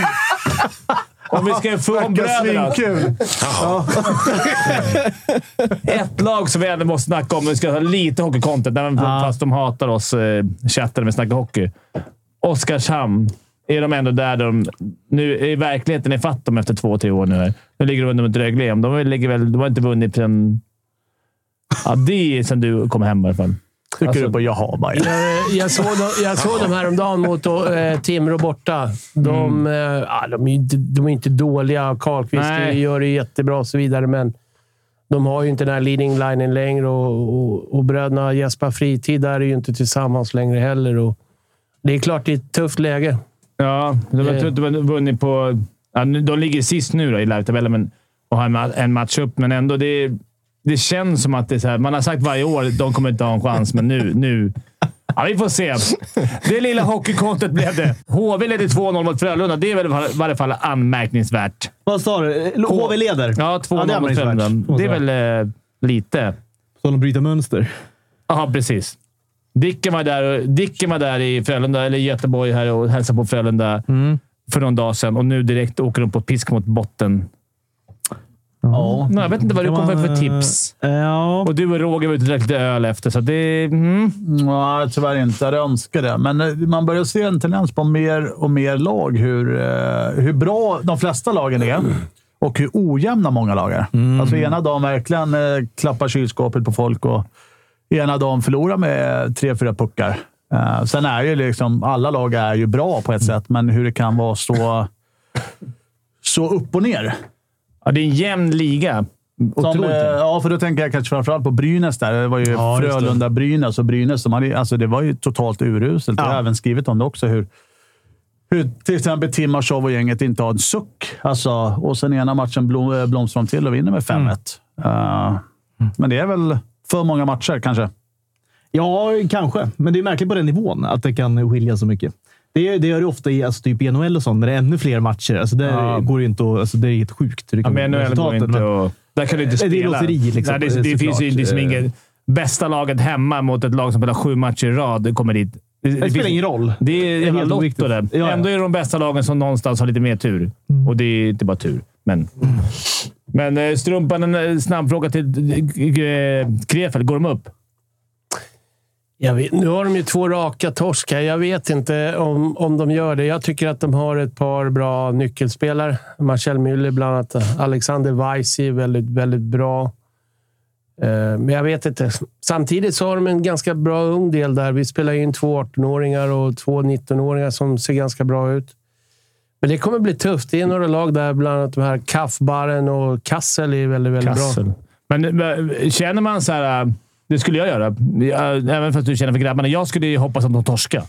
S4: Om vi ska få om bröderna.
S1: Svinkul!
S4: Ett lag som vi ändå måste snacka om. Vi ska ha lite hockeycontent, även fast de hatar oss, eh, chatten med Snacka Hockey. Oskarshamn. Är de ändå där de... Nu i verkligheten är fatt dem efter två, tre år nu. Här. Nu ligger de under mot Rögle igen. De, ligger väl, de har inte vunnit sen... Ja, det är sen du kom hem i alla fall.
S1: Tycker du på jaha bara. ja.
S5: Eh, jag, såg dem, jag såg dem häromdagen mot eh, Timrå borta. De, eh, ja, de, är ju inte, de är inte dåliga. Karlqvist
S4: Nej.
S5: gör det jättebra och så vidare, men de har ju inte den här leading linen längre och, och, och bröderna Jesper Fritid där är ju inte tillsammans längre heller. Och det är klart det är ett tufft läge.
S4: Ja, de
S3: Eh.
S4: har inte vunnit på... Ja, nu- de ligger sist nu då, i live-tabellen men, och har en ma- en match upp, men ändå. Det, det känns som att det är så här, man har sagt varje år de kommer inte ha en chans, men nu... nu ja, vi får se. Det lilla hockeykontot blev det. HV ledde 2-0 mot Frölunda. Det är väl i var- varje fall anmärkningsvärt.
S3: Vad sa du? L- HV leder?
S4: Ja, 2-0
S3: det är
S4: mot
S3: anmärkningsvärt.
S4: Frölunda. Det är väl eh, lite.
S3: Så de bryter mönster.
S4: Ja, precis. Dicken var, där, och- Dicken var där i Frölunda, eller i Göteborg här och hälsade på
S3: Mm.
S4: Frölunda för någon dag sedan. Och nu direkt åker de på pisk mot botten.
S1: Ja.
S4: Nej, jag vet inte vad du
S3: Kan
S4: kommer
S3: man,
S4: för
S3: eh,
S4: tips.
S3: Ja.
S4: Och du och Roger var ute och drack lite öl efter, så det... Mm.
S1: Nej, tyvärr inte. Jag önskar det. Men eh, man börjar se en tendens på mer och mer lag hur, eh, hur bra de flesta lagen är och hur ojämna många lag är. Alltså ena dagen verkligen eh, klappar kylskåpet på folk och ena dagen förlorar med tre, fyra puckar. Eh, Sen är ju liksom alla lag är ju bra på ett sätt, men hur det kan vara så, så upp och ner.
S4: Ja, det är en jämn liga.
S1: Som,
S4: Otroligt.
S1: eh, ja, för då tänker jag kanske framförallt på Brynäs där. Det var ju Frölunda-Brynäs och Brynäs. Som hade, alltså det var ju totalt uruselt. Jag har även skrivit om det också. Hur, hur till exempel Timashov och gänget inte har en suck. Alltså, och sen ena matchen blom, eh, blomstrar de till och vinner med 5-1.
S3: Mm.
S1: Eh, men det är väl för många matcher kanske.
S3: Ja, kanske. Men det är märkligt på den nivån att det kan skilja så mycket. Det, det gör det ofta i alltså, typ i NHL och sånt, när det är ännu fler matcher. Alltså, där
S4: Ja.
S3: går det inte att, alltså, Det är helt sjukt. hur det
S4: Ja,
S3: kan
S4: men
S3: bli
S4: NHL går
S3: resultaten,
S4: inte
S3: men-
S4: och, Där kan du inte
S3: Nej,
S4: spela.
S3: det är lotteri, liksom,
S4: Nej, det det
S3: såklart.
S4: finns ju liksom ingen... Bästa laget hemma mot ett lag som spelar sju matcher i rad det kommer dit. Det,
S3: Det spelar ingen roll.
S4: Det är jävla
S3: helt
S4: lotto
S3: oviktigt. Ja,
S4: det.
S3: Mm. ja.
S4: Ändå är det de bästa lagen som någonstans har lite mer tur. Och det är inte bara tur, men... Men eh, Strumpan, en eh, snabb fråga till eh, Krefeld. Går de upp?
S5: Jag vet, nu har de ju två raka torskar. Jag vet inte om, om de gör det. Jag tycker att de har ett par bra nyckelspelare. Marcel Müller bland annat. Alexander Weiss är väldigt, väldigt bra. Eh, Men jag vet inte. Samtidigt så har de en ganska bra ung del där. Vi spelar in två 18-åringar och två 19-åringar som ser ganska bra ut. Men det kommer bli tufft. Det är några lag där, bland annat de här Kaffbaren och Kassel är väldigt, väldigt bra.
S4: Kassel. Men, eh, känner man så här... eh, Det skulle jag göra. Eh, Även fast du känner för grabbarna. Jag skulle ju hoppas att de torskar.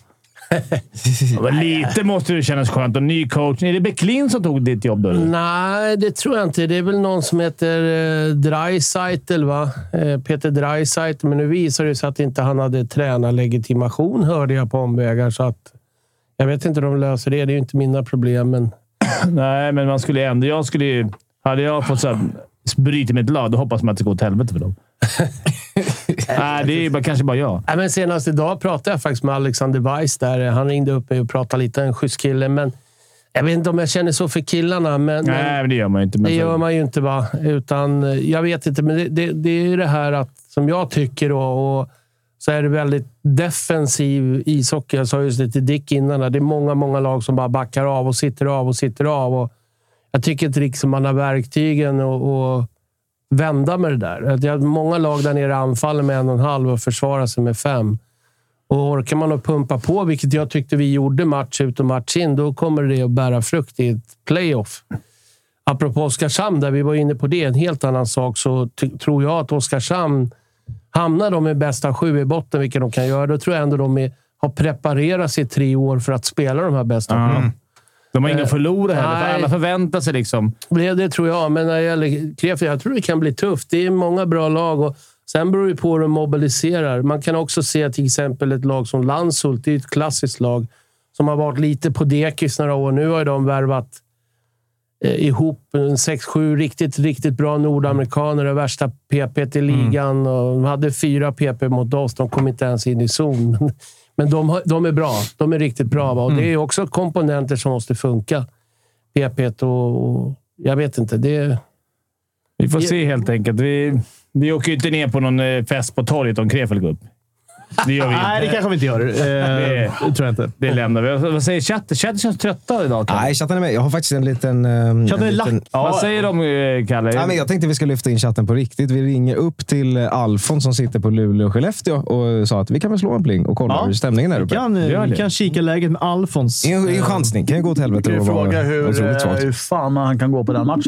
S4: Ja, men Lite måste det kännas skönt. Och ny coach. Är det Becklin som tog ditt jobb då? eller?
S5: Nej, det tror jag inte. Det är väl någon som heter eh, Dreisaitl, va? Eh, Peter Dreisaitl. Men nu visar det sig att inte han hade tränarlegitimation, hörde jag på omvägar. Så att, jag vet inte hur de löser det. Det är ju inte mina problem, men
S4: Nej, men man skulle ju ändå... Jag skulle ju... Hade jag fått så här, bryta mitt lag, då hoppas man att det går åt helvete för dem. Nej, det är ju bara, kanske bara jag.
S5: Nej, men senast idag pratade jag faktiskt med Alexander Weiss. Där. Han ringde upp mig och pratade lite. En schysst kille. Men jag vet inte om jag känner så för killarna. Men, men
S4: Nej, men det gör man ju inte. Men
S5: det
S4: så-
S5: gör man ju inte. va? Utan, eh, jag vet inte, men det, det, det är ju det här att, som jag tycker. Då, och så är det väldigt defensiv ishockey. Jag sa just det till Dick innan. där. Det är många, många lag som bara backar av och sitter av och sitter av. Och jag tycker inte liksom man har verktygen och, och vända med det där. Att jag, många lag där nere anfaller med en och en halv och försvarar sig med fem. Och orkar man att pumpa på, vilket jag tyckte vi gjorde match ut och match in, då kommer det att bära frukt i ett playoff. Apropå Oskarshamn, där vi var inne på det, en helt annan sak, så ty- tror jag att Oskarshamn, hamnar de i bästa sju i botten, vilket de kan göra, då tror jag ändå de är, har preparerat sig i tre år för att spela de här bästa sju.
S4: De har inget att förlora heller, för
S5: Nej.
S4: alla förväntar sig liksom...
S5: Det, det tror jag, men när det gäller Krefeld, jag tror det kan bli tufft. Det är många bra lag och sen beror det på hur de mobiliserar. Man kan också se till exempel ett lag som Landshult, det är ett klassiskt lag som har varit lite på dekis några år. Nu har ju de värvat eh, ihop en sex, sju riktigt, riktigt bra nordamerikaner. Det värsta PP i ligan. Och de hade fyra PP mot oss. De kom inte ens in i zon. Men, men de, har- de är bra. De är riktigt bra. Va? Och Det är också komponenter som måste funka. PP och... och jag vet inte. Det,
S4: Vi får
S5: Ja.
S4: se helt enkelt. Vi, vi åker ju inte ner på någon eh, fest på torget om Krefeld går upp. Det gör vi
S3: Nej, det
S4: inte.
S3: kanske vi inte gör. Eh,
S4: Det-
S3: det tror jag inte.
S4: Det lämnar vi. Vad säger chatten? Chatten känns trötta idag. Kalle.
S6: Nej, chatten är med. Jag har faktiskt en liten... ehm,
S3: Chatten är
S6: en liten...
S3: lack.
S4: Vad säger de, eh, Kalle?
S6: Nej, men jag tänkte vi ska lyfta in chatten på riktigt. Vi ringer upp till eh, Alfon som sitter på Luleå och Skellefteå och sa att vi kan väl slå en pling och kolla
S3: Ja.
S6: hur stämningen är där uppe.
S3: Kan,
S4: Gör det.
S3: kan kika läget med Alfons.
S6: Det är en- det är en chansning. kan ju gå åt helvete.
S1: Kan ju
S6: och vara
S1: fråga hur,
S6: otroligt svagt.
S1: eh, hur fan han kan gå på den matchen.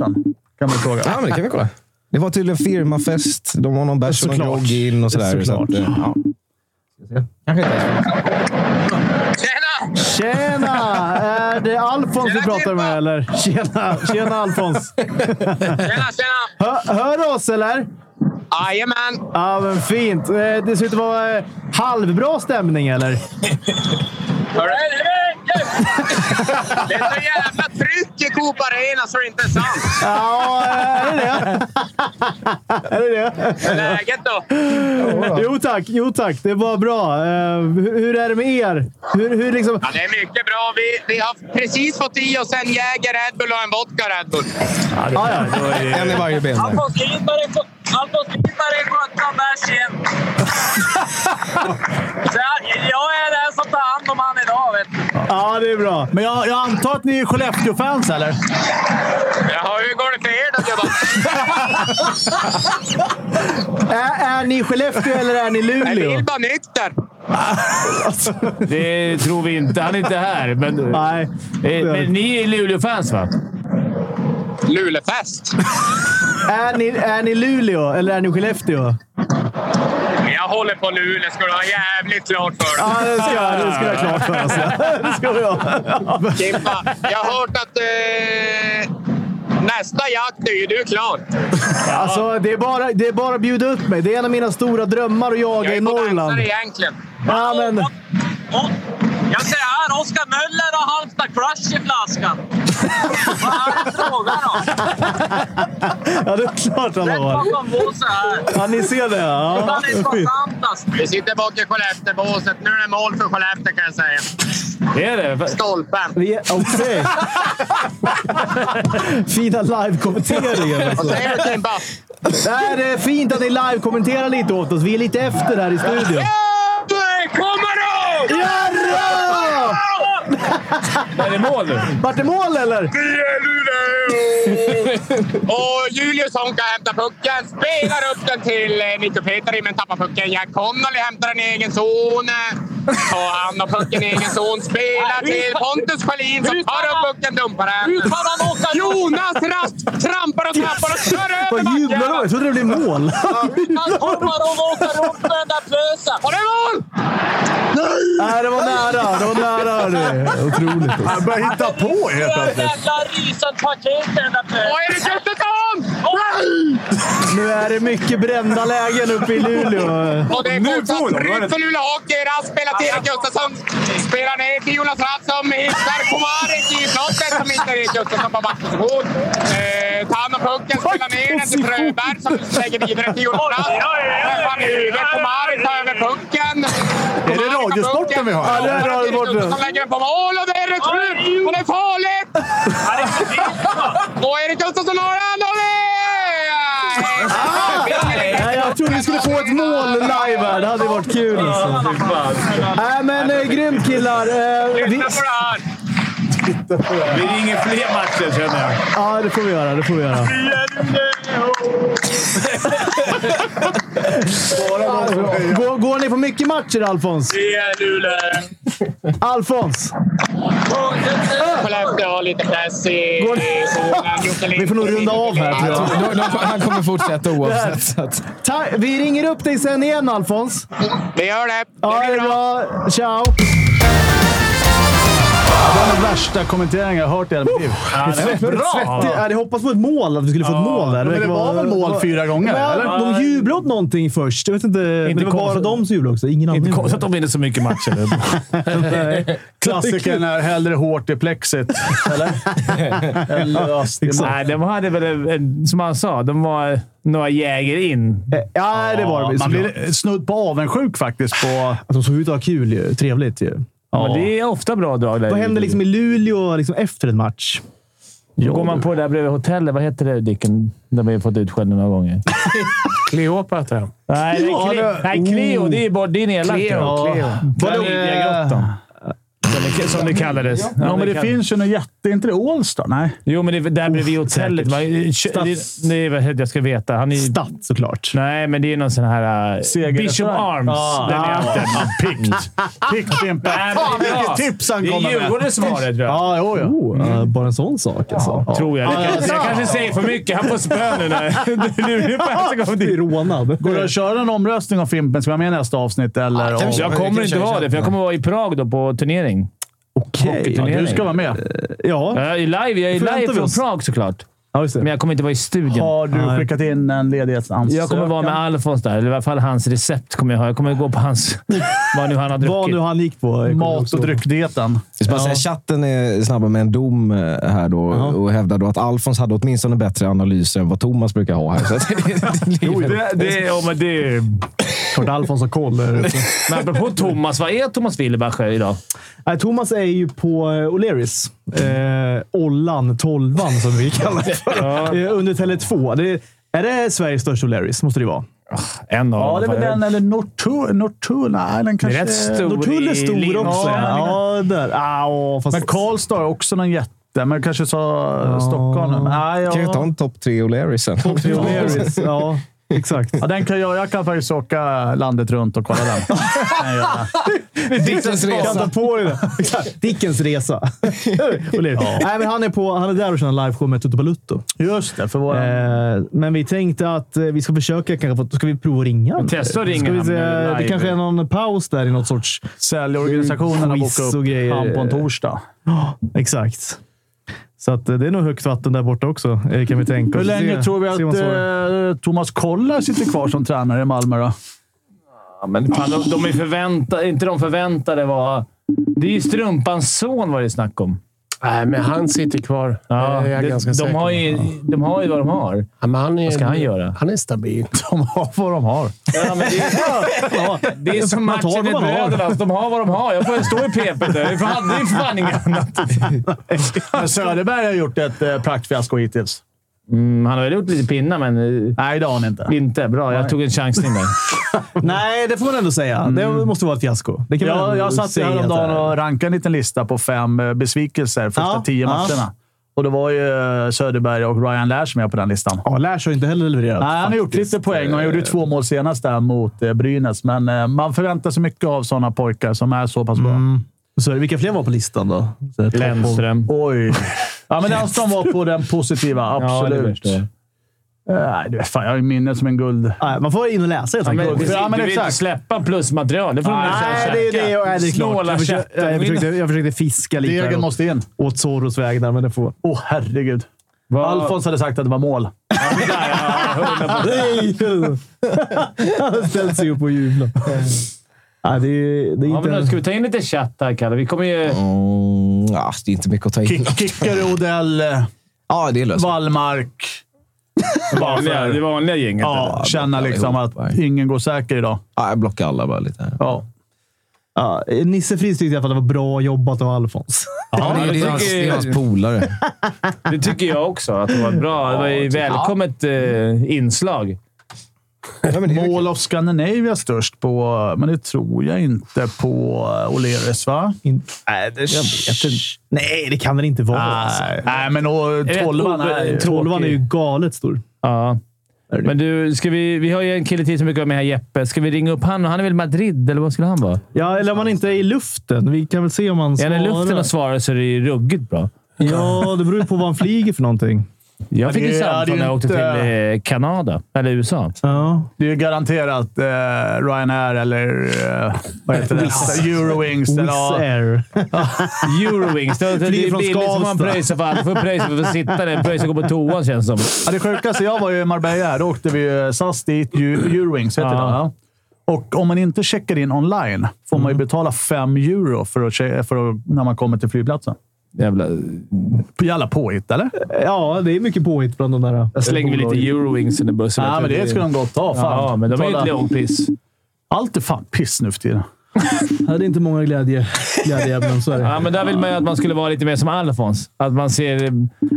S1: Kan man fråga.
S3: Ah,
S6: Ja, men det kan vi kolla. Det var tydligen firmafest. De har någon bärs och någon
S3: Såklart.
S6: grogg in och sådär. Så
S3: Såklart.
S6: att, eh, ja.
S3: Tjena! Är det Alfons du pratar med eller? Tjena, tjena Alfons!
S9: Tjena, tjena!
S3: Hör, hör oss eller?
S9: Jajamän!
S3: Ja, men fint. Eh, Det ser ut att vara eh, halvbra stämning eller?
S9: Helvete! Det är så jävla tryck i Coop Arena så det är inte är sant.
S3: Ja, är det det? är det det?
S9: Hur är läget då?
S3: Jo tack, jo tack. Det var bra. Eh, hur, hur är det med er? Hur, hur liksom...
S9: Ja, det är mycket bra. Vi, vi har precis fått i oss en Jäger Red Bull och en vodka Red Bull.
S3: ah, ja.
S6: En i varje ben. där.
S9: Alfons Lindberg är 17 bärs igen. Så jag, jag är den som tar hand om han idag. Vet du.
S3: ja, det är bra.
S1: Men jag, jag antar att ni är Skellefteå-fans, eller?
S9: Jaha, hur går det för er då gubbar?
S3: Är, är ni Skellefteå eller är ni
S9: Är
S3: Luleå?
S9: Wilba nykter?
S4: Det tror vi inte. Han är inte här. Men,
S3: Nej.
S4: eh, men ni är Luleå-fans, va?
S9: Lulefest.
S3: Är ni, är ni Luleå eller är ni Skellefteå?
S9: Jag håller på Luleå, ska du ha jävligt klart för dig.
S3: Ja, det ska jag, det ska jag klart för oss. Det ska vi ha.
S9: Kimpa, jag har hört att eh, nästa jakt är ju du klar.
S3: Alltså, det är bara det är bara att bjuda upp mig. Det är en av mina stora drömmar att
S9: Jag
S3: jaga
S9: är
S3: i
S9: på dansare
S3: Norrland.
S9: egentligen.
S3: Ja, men-
S9: Och- och- Jag ser här, Oskar Möller och Halmstad Crush i flaskan. Vad är det frågan om?
S3: Ja, det är klart han
S9: Rätt
S3: har.
S9: bakom båset här.
S3: Ja, ni ser det. Ja.
S9: Det är kontantast. Vi sitter bak i Skellefteåbåset. Nu är det mål för Skellefteå kan jag säga.
S4: Är det?
S9: Stolpen.
S3: Vi är- Okej. Fina live-kommenteringar.
S9: Vad
S3: Alltså.
S9: säger du Kimpa?
S3: Nej, det är fint att ni live-kommenterar lite åt oss. Vi är lite efter här i studion.
S9: Det kommer då!
S3: Jarra!
S4: Är det mål nu?
S3: Vart det mål eller?
S9: Vi är Luleå! Och Julius Honka hämtar pucken, spelar upp den till eh, Niko Petri, men tappar pucken. Jack Connolly hämtar en egen zon. Och han har pucken i egen zon, spelar till Pontus Sjölin som tar upp pucken, dumpar den. Jonas Rast trampar och trampar och kör över
S3: Vad jublar de?
S9: backen!
S3: Jag trodde det blev mål.
S9: Han hoppar och åker upp med den där plösen. Har det mål?
S3: Nej, det var nära. Det var nära. hörni. Otroligt.
S1: Jag börjar hitta på helt plötsligt.
S9: jävla risigt paket den där plösen. Och Erik Gustafsson!
S3: Nu är det mycket brända lägen uppe i Luleå.
S9: Och det är fortsatt tryck för Luleå Hockey. Rask spelar till Erik Gustafsson. Spelar ner till Jonas Rask som hittar Komarek i slottet som inte är Erik Gustafsson på backposition. Eh, tar hand om pucken, spelar ner den till Fröberg som lägger vidare till Jonas Rask. Träffar huvudet. Komarek tar över pucken.
S1: Är det radiosporten vi har?
S9: Ja,
S3: det är radiosporten.
S9: Som lägger den på mål och det är retur! Och det är farligt! Och Erik Gustafsson har den och det är...
S3: Nej, jag trodde vi skulle få ett mål live här. Det hade varit kul. Alltså. Nej, men eh, grymt killar. Eh, vi,
S9: Lyssna på det här!
S4: Vi ringer fler matcher, känner jag.
S3: ja, det får vi göra. Det får vi göra. Går, går ni på mycket matcher, Alfons?
S9: Vi är Luleå.
S3: Alfons!
S9: Skellefteå har lite press i
S3: Går-
S9: i zonen.
S3: Vi får nog runda av här, tror jag.
S6: De- de- Han kommer fortsätta oavsett. Så att,
S3: Ta vi ringer upp dig sen igen, Alfons.
S9: Vi gör det.
S3: Ja, det är bra. Ciao!
S1: Det var den värsta kommenteringen jag har hört i hela mitt liv.
S3: Svettig. Ja, det hoppas på ett mål, att vi skulle få ett mål där.
S1: men det var väl mål fyra gånger,
S3: Ja,
S1: eller?
S3: de jublade åt någonting först. Jag vet inte. men det var bara
S4: konstigt.
S3: de som jublade också. Ingen annan.
S4: Inte
S3: jublade.
S4: konstigt att de vinner så mycket matcher.
S1: Klassikern är hellre hårt i plexit, eller? Eller löst i mål.
S4: Nej, de hade väl, en- en, som han sa, de var några jäger in.
S3: Ja, det var det.
S1: Man
S3: Man
S1: blir snudd på avundsjuk faktiskt. På,
S3: Att de såg ut att ha kul ju. Trevligt ju.
S4: Ja. Men det är ofta bra drag där.
S3: Vad händer liksom i Luleå liksom efter en match?
S4: Då går man på det där bredvid hotellet. Vad heter det, Dicken? Där vi har fått utskällning några gånger.
S2: Kleopatra.
S4: Nej, det är Cleo. Nej, Cleo. Det är, bara, det är nedlagt.
S2: Cleo, Cleo.
S4: Klamydiagrottan. Som det- Som det kallades.
S1: ja, men det finns ju något jätte... Inte det Allstar? Nej.
S4: Jo, men det är där bredvid hotellet. va? Kö-
S3: Stats-
S4: Det, det är vad heter- jag ska veta. Han är,
S3: Statt såklart.
S4: nej, men det är någon sån här... Uh,
S1: Seger-
S4: Bishop Arms.
S1: Ja.
S4: Den är
S1: Ja.
S4: efter. Pickt.
S1: Pick, Fimpen. Fan, vilket tips han
S4: Det är
S1: kommer med!
S4: Djurgårdens svar, tror jag.
S1: Ja, jo, ja.
S3: Oh, eh, bara en sån sak alltså. Ja.
S4: Tror jag. Det kanske,
S1: ja.
S4: jag kanske säger för mycket. Han får spö nu när Luleåfansen kommer
S3: Blir
S4: dit.
S3: rånad.
S1: Går det att köra en omröstning om Fimpen? Ska vi ha med nästa avsnitt? Eller
S6: Ja, kan vi
S1: om-
S6: köra.
S4: Jag kommer inte vara det, för jag kommer vara i Prag då på turnering.
S3: Okej.
S1: Ja, du ska vara med.
S3: Ja.
S4: Jag är live, jag är
S3: Förväntar
S4: live
S3: vi
S4: från
S3: oss.
S4: Prag såklart.
S3: Ja, just
S4: Men
S3: det.
S4: jag kommer inte vara i studion.
S1: Har du
S3: Nej.
S1: skickat in en ledighetsansökan?
S4: Jag kommer vara med Alfons där, eller i alla fall hans recept kommer jag ha. Jag kommer gå på hans... Vad nu han har
S3: Vad
S4: druckit.
S3: nu han gick på. kommer jag
S1: Mat
S3: också-
S1: och dryckdieten.
S6: Jag ska bara säga, chatten är snabbare med en dom eh, här då och hävdar då att Alfons hade åtminstone bättre analyser än vad Thomas brukar ha här. Så att det, det, det,
S4: Det, det, ja, men det...
S3: Klart Alfons har koll. där ute.
S4: Men apropå Thomas, vad är Thomas Wilbacher idag?
S3: Nej, Thomas är ju på eh, O'Learys. Eh, Ollan, tolvan som vi kallar det för. Eh, Under Tele2. Det, är det Sveriges största O'Learys? Måste det ju vara.
S4: En av
S1: Ja, det är väl den. Eller Nortu- Nortuna. Nej, den kanske...
S4: rätt stor.
S3: Norrtull är
S4: i
S3: stor
S4: Linköping.
S3: också. Ja, där. Ah, åh, fast...
S1: Men Karlstad är också någon jätte. Men kanske sa eh, Stockholm. Nej,
S6: kan vi ta
S1: ja.
S6: en topp tre O'Leary sen?
S3: O'Learys. Ja, exakt.
S1: Ja, den kan jag, jag kan faktiskt åka landet runt och kolla den. Kan jag göra.
S6: Dickens
S3: Kan ta
S6: resa.
S3: på dig det. Exakt. Dickens resa. O'Leary. Nej, men han, är på, han är där och kör en liveshow med Tutu Balutto.
S1: Just det, för våra...
S3: Eh, men vi tänkte att eh, vi ska försöka. Kanske, få- ska vi prova att ringa honom?
S4: testa att ringa
S3: Ska vi
S4: honom
S3: se,
S4: nu live.
S3: Det kanske är någon paus där i något sorts...
S1: Säljorganisationerna
S3: Quiz
S1: bokar
S3: och
S1: upp
S3: grejer.
S1: han på en torsdag.
S3: Exakt. Så att, eh, det är nog högt vatten där borta också, eh, kan vi tänka
S1: Hur
S3: oss.
S1: länge
S3: Se-
S1: tror vi
S3: se vad han svarar.
S1: att eh, Thomas Kollar sitter kvar som tränare i Malmö? Då?
S4: Ja, men fan, de, de är förvänta, inte de förväntade var... Det är ju Strumpans son var det snack om.
S5: Nej, men han sitter kvar.
S4: Ja,
S5: det är jag
S4: det,
S5: ganska
S4: de,
S5: säker
S4: har
S5: på.
S4: ju, de har ju vad de har.
S5: Ja, men han är,
S4: Vad ska han göra?
S5: Han är stabil.
S1: De har vad de har.
S4: Ja, men det, är, ja, det är som
S3: Man tar
S4: matchen i
S3: vad man har.
S4: Brödernas. De har vad de har. Jag får stå i pepet. där. Jag hade ju för fan inget annat.
S1: Men Söderberg har gjort ett eh, praktfiasko hittills.
S4: Mm, han har väl gjort lite pinnar, men eh,
S1: Nej, det har han inte.
S4: inte. Bra, jag tog en chansning där.
S3: Nej, det får man ändå säga. Det måste vara ett fiasko. Det kan man
S1: Jag,
S3: ändå
S1: Mm. jag satt ju
S3: säga
S1: häromdagen
S3: att det är.
S1: och rankade en liten lista på fem eh, besvikelser första
S3: Ja,
S1: tio
S3: ja.
S1: matcherna. Och det var ju eh, Söderberg och Ryan Lash med på den listan.
S3: Ja, Lash har ju inte heller levererat.
S1: Nej, han har gjort
S3: faktiskt.
S1: lite poäng och han
S4: eh,
S1: gjorde ju två mål senast där mot eh, Brynäs, men eh, man förväntar sig mycket av sådana pojkar som är så pass bra.
S3: Så, vilka fler var på listan då? Så här, topp-
S4: Mm, Lennström.
S1: Oj! Ja, men den som var på den positiva, absolut.
S4: förstår jag.
S1: Eh, Nej, du, fan, jag har ju minnet som en guld.
S3: Nej, man får in och läsa helt enkelt.
S1: men-
S4: Du
S1: Ja, men
S4: vill inte
S1: exakt.
S4: släppa plusmaterial. Det får de väl
S3: Nej,
S4: käka.
S3: det är det. Jag, nej, det är klart.
S4: Snåla
S3: Jag försökte,
S4: käften.
S3: jag, försökte, jag försökte fiska lite
S1: Degen
S3: här åt,
S1: måste in.
S3: åt Zorros vägnar, men det får...
S1: Åh, oh, herregud. Alfons hade sagt att det var mål.
S3: Nej! Han ställt sig upp och jublat. Nej, det är, det är
S4: Ja, men då
S3: inte...
S4: ska vi ta in lite chatt här, Kalle? Vi kommer ju...
S6: Mm, ja, det är inte mycket att ta in.
S1: Kick- Kickare, Odell, eh,
S6: Ja, det är löst.
S1: Wallmark.
S4: Vanliga, det vanliga gänget.
S1: Ja, känna liksom att ingen går säker idag.
S6: Ja, jag blockar alla bara lite. Här.
S1: Ja.
S3: Ja, Nisse Friis tyckte i alla fall att det var bra jobbat av Alfons.
S6: Ja, det, är, det, är hans, det är hans polare.
S4: Det tycker jag också. Att det var bra. Det var ju välkommet eh, inslag.
S6: Ja, men det är
S1: Mål of Scandinavia störst på, men det tror jag inte på eh, O'Learys, va?
S3: In... Nej, det Nej, det kan den inte vara.
S1: Nej, Nej men och, tolvan är ju...
S3: Tolvan är ju galet stor.
S4: Ja. Men du, ska vi, vi har ju en kille till som brukar vara med här, Jeppe. Ska vi ringa upp han? Han är väl i Madrid, eller vad skulle han vara?
S3: Ja, eller om man inte är i luften. Vi kan väl se om han
S4: Är han i luften och svarar så är det ju ruggigt bra.
S3: Ja, det beror ju på vad han flyger för någonting.
S4: Jag fick
S1: det-
S4: ju
S1: ja, det är
S4: samtal när jag åkte
S1: inte-
S4: till eh, Kanada, eller USA.
S3: Ja.
S1: Det är ju garanterat eh, Ryanair eller eh, vad heter det? Eurowings. Eller,
S3: Wizz
S1: ja.
S3: Air.
S4: Eurowings. Det, det är
S3: Flyger från
S4: billigt som man
S3: Skavsta.
S4: pröjsar för. Alla får pröjsa för att sitta där. Pröjsa gå på toa känns det som.
S1: Ja, det sjukaste jag var ju i Marbella. här. Då åkte vi ju SAS dit, Eu- Eurowings heter det.
S4: Ja.
S1: va? Och om man inte checkar in online får man ju
S3: Mm.
S1: betala 5 euro för att, che- för att, när man kommer till flygplatsen.
S4: Jävla...
S1: Jävla påhitt, eller?
S3: Ja, det är mycket påhitt bland de där.
S4: Jag slänger vi lite Eurowings i bussen.
S1: Ja, men det skulle de gott ta. Fan.
S4: Ja, men de är ju
S1: Betala-
S4: ett leonpiss.
S1: Allt är fan piss nu för tiden.
S3: Ja, det är inte många glädje, glädjeämnen, så är det.
S4: Ja, men där vill man ju att man skulle vara lite mer som Alfons. Att man ser... eh,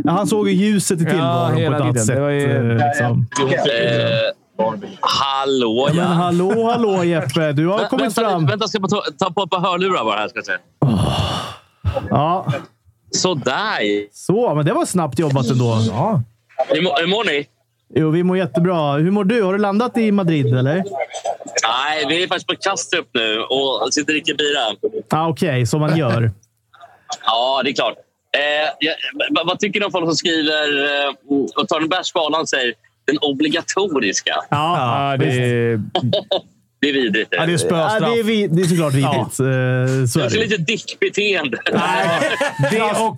S3: Ja, han såg ju ljuset i tillvaron på ett
S4: hela
S3: annat
S4: tiden.
S3: sätt.
S4: Det var ju-
S3: eh, liksom.
S10: hallå
S3: Men hallå, hallå Jeppe! Du har kommit
S10: vänta,
S3: fram.
S10: Lite, vänta, ska jag bara ta, ta på ett par hörlurar bara här. Ska jag se.
S3: Ja,
S10: Sådär
S3: så, men det var snabbt jobbat ändå. Ja.
S10: Hur, mår- hur mår ni?
S3: Jo, vi mår jättebra. Hur mår du? Har du landat i Madrid, eller?
S10: Nej, vi är faktiskt på Kastrup nu och sitter och dricker bira.
S3: Ja, ah, okej. som man gör.
S10: Ja, det är klart. Eh, jag, vad- vad tycker du om folk som skriver eh, och tar en bärs på Arlanda och säger den obligatoriska?
S4: Ja, det är...
S10: Det är vidrigt.
S3: Ja, det är spöstraff. det, är vi, det är såklart vidrigt. Eh, Så är
S10: Kanske
S3: det.
S10: lite dickbeteende.
S4: Det och,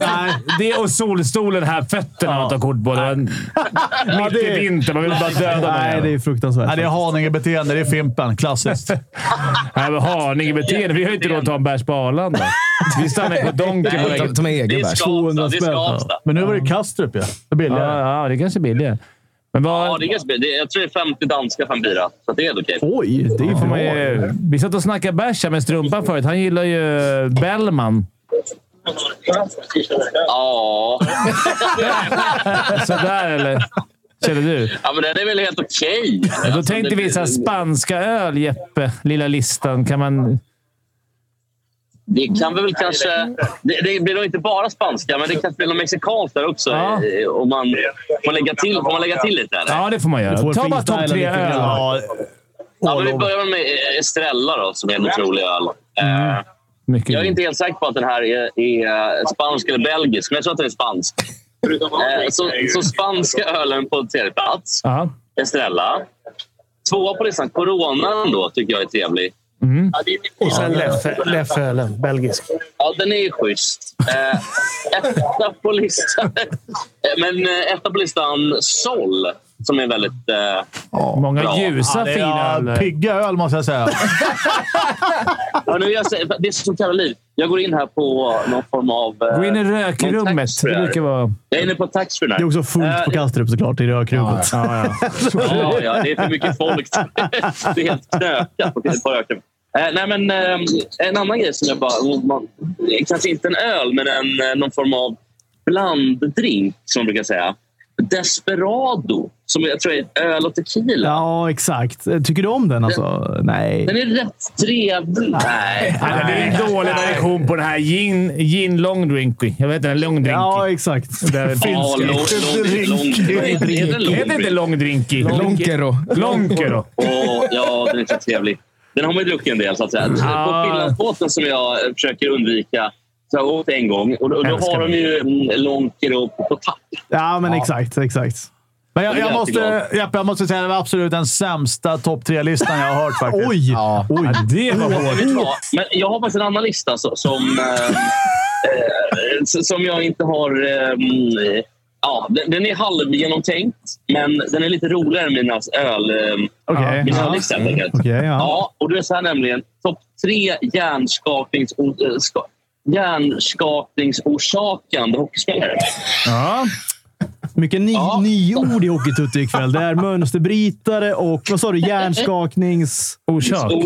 S4: det och solstolen här. Fötterna man tar kort på. Det var Mitt i vintern. Man vill bara döda
S3: Nej,
S4: mig.
S3: det är fruktansvärt.
S1: Nej, det är Haninge-beteende. Det är Fimpen. Klassiskt.
S4: Nej, men Haninge-beteende. Vi har ju inte råd att ta en bärs på Arlanda. Vi stannar på Donken
S6: Ta,
S4: på vägen.
S6: ta med
S10: Det
S6: egen
S10: är
S6: bärs.
S10: Skavsta. Det är
S3: spänn.
S10: Skavsta.
S1: Men nu var det Kastrup ju. Det är billigare.
S4: Ja, ja, det kanske är billigare. Men
S10: Ja,
S4: vad...
S10: det är ganska, det, jag tror det är 50 danska för en bira, så det är helt okej.
S3: Oj, det är
S4: får man
S3: bra.
S4: ju, vi satt och snackade bärs här med Strumpan förut. Han gillar ju Bellman.
S10: Ja.
S4: Sådär, eller? Känner du?
S10: ja, men den är väl helt okej.
S4: Ja, Då
S10: Alltså,
S4: tänkte
S10: det-
S4: vi så här, spanska öl, Jeppe. Lilla listan. Kan man...
S10: Det kan vi väl kanske... Det, det blir nog inte bara spanska, men det kanske blir något mexikanskt där också.
S4: Ja.
S10: eh, Om man, man lägga till, får man lägga till lite? Eller? Ja.
S4: Ja, det får man göra. Ta bara topp
S3: freestyla
S4: tre
S3: lite grann.
S10: men
S4: öl.
S10: vi börjar med eh, Estrella då, som är en otrolig öl. Eh,
S3: Mm.
S4: Mycket.
S10: Jag är inte helt säker på att den här är, är eh, spansk eller belgisk, men jag tror att den är spansk. Eh, Så, så spanska ölen på tredje plats.
S4: Ja.
S10: Estrella. Tvåa på listan, Coronan då, tycker jag är trevlig.
S5: Mm. Och sen Leffe- Leffeölen, belgisk.
S10: Ja, den är ju schysst. Eh, etta på listan... Eh, Men eh, etta på listan, Sol, som är väldigt... Eh,
S4: Många
S10: Bra.
S4: ljusa,
S1: Det
S4: fina
S1: är
S4: öl.
S1: pigga öl, måste jag säga.
S10: ja, nu är jag, så- det är så jävla liv. Jag går in här på någon form av... eh,
S4: Gå in i
S10: någon
S4: rökrummet.
S10: taxfree
S4: Det
S10: här.
S4: brukar vara...
S10: Jag är inne på taxfree
S3: Det är
S10: nu.
S3: också fullt på Kastrup såklart i rökrummet.
S10: Ja, ja, det är för mycket folk. Det är helt knökat på på öken. Eh, nej, men, ehm, en annan grej som jag bara... Man, kanske inte en öl, men en, eh, någon form av blanddrink, som man brukar säga. Desperado, som jag tror är öl och tequila.
S3: Ja, exakt. Tycker du om den alltså? Nej.
S10: Den är rätt trevlig. Nej.
S4: Nej, det är en dålig version på den här gin, gin long drinky. Jag vet inte, en long drinky.
S3: Ja, exakt.
S10: Ja, lång, lång, lång, Heter den lång
S4: Heter det inte
S10: drink?
S4: long drinky?
S6: Lonkero.
S4: Lonkero.
S10: Åh, ja, den är så trevlig. Den har man ju druckit en del, så att
S3: Mm.
S10: säga.
S4: Ah.
S10: På Finlandsbåten som jag eh, försöker undvika så jag åt en gång. Och då, och då
S4: Älskar
S10: har de ju mm, Lonkero på, på tapp.
S3: Ja, men exakt. exakt.
S1: Men jag,
S10: Det är
S1: jag, måste,
S10: jätteglad.
S1: Jeppe, jag måste säga att det var absolut den sämsta topp tre-listan jag har hört faktiskt.
S3: Oj! Oj.
S4: Det var
S10: Jag
S4: hårt.
S3: Mm.
S10: vet vad, Men jag har faktiskt en annan lista så, som, eh, eh, s- som jag inte har... Eh, mm, ja, den, den är halvgenomtänkt, men den är lite roligare än mina öl... Eh,
S3: Okej.
S10: mina
S3: Ja. Mm.
S10: öllistor, helt enkelt.
S3: Okej, ja.
S10: Ja, och det är så här nämligen. Topp tre hjärnskaknings... eh, ska- hjärnskakningsorsakande hockeyspelare.
S4: Ja.
S3: Mycket ny,
S10: Ja.
S3: nyord i Hockeytutti ikväll. Det är mönsterbrytare och vad sa du? Hjärnskakningsorsakande.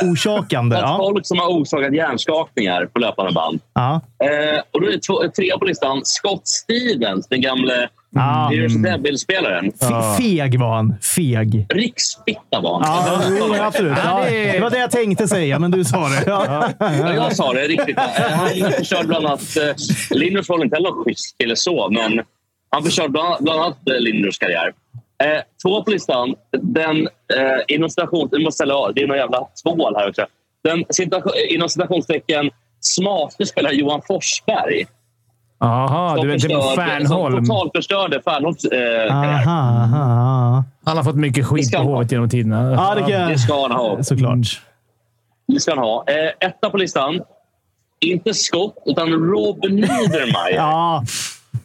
S4: Orsak.
S10: Orsakande. Att
S3: Ja.
S10: folk som har orsakat hjärnskakningar på löpande band.
S3: Ja.
S10: Eh, och då är det två, trea på listan. Scott Stevens, den gamle
S3: Ah.
S10: Irish Devil-spelaren.
S3: Fe- Feg var han. Feg.
S10: Riksfitta var han.
S3: Ja, jo, men absolut. Ja, det var det jag tänkte säga, men du sa det. Ja.
S10: Ja, jag sa det. Riksfitta. Eh, Han förstörde bland annat... Eh, Lindros var väl inte heller någon schysst kille så, men han förstörde bland, bland annat eh, Lindros karriär. Eh, två på listan. Den, eh, inom citation, jag måste ställa, av, det är någon jävla tvål här också. Den, citation, inom citationstecken smarte spelare Johan Forsberg.
S4: Jaha, du är inte på Fernholm.
S10: Som totalförstörde Fernholms eh, karriär.
S3: Aha, aha, aha.
S4: Han har fått mycket skit på Hovet genom tiderna.
S3: Ja, det kan
S10: Det
S3: jag.
S10: ska han ha.
S3: Såklart.
S10: Det ska han ha. Eh, etta på listan. Inte Scott, utan Rob Niedermayer.
S3: Ja,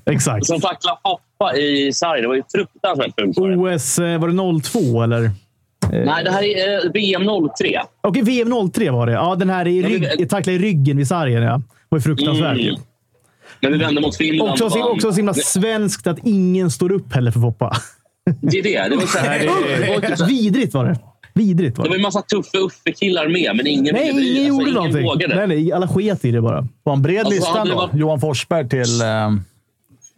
S3: exakt.
S10: Som tacklade Foppa i sarg. Det var ju fruktansvärt fult. var det.
S3: OS, eh, var det 02 eller?
S10: Nej, det här är eh, VM 03.
S3: Okej, VM 03 var det. Ja, den här i rygg, tackla i ryggen vid sargen. Ja. Det var ju fruktansvärt. ju.
S10: Mm. Men vi vände mot Finland.
S3: Också,
S10: och
S3: så-
S10: vann.
S3: också så himla svenskt att ingen står upp heller för Foppa.
S10: Det är det. Det var, så här, det, var inte så här-
S3: Vidrigt var det. Vidrigt var
S10: det var
S3: det.
S10: en massa tuffe Uffe-killar med, men ingen
S3: Nej,
S10: ville bry
S3: ingen
S10: sig.
S3: gjorde
S10: ingen
S3: någonting.
S10: vågade.
S3: Nej, nej, alla sket i det bara.
S1: Var en bred
S10: Alltså,
S1: lista
S10: hade det
S1: då.
S10: varit-
S1: Johan Forsberg till... ehm,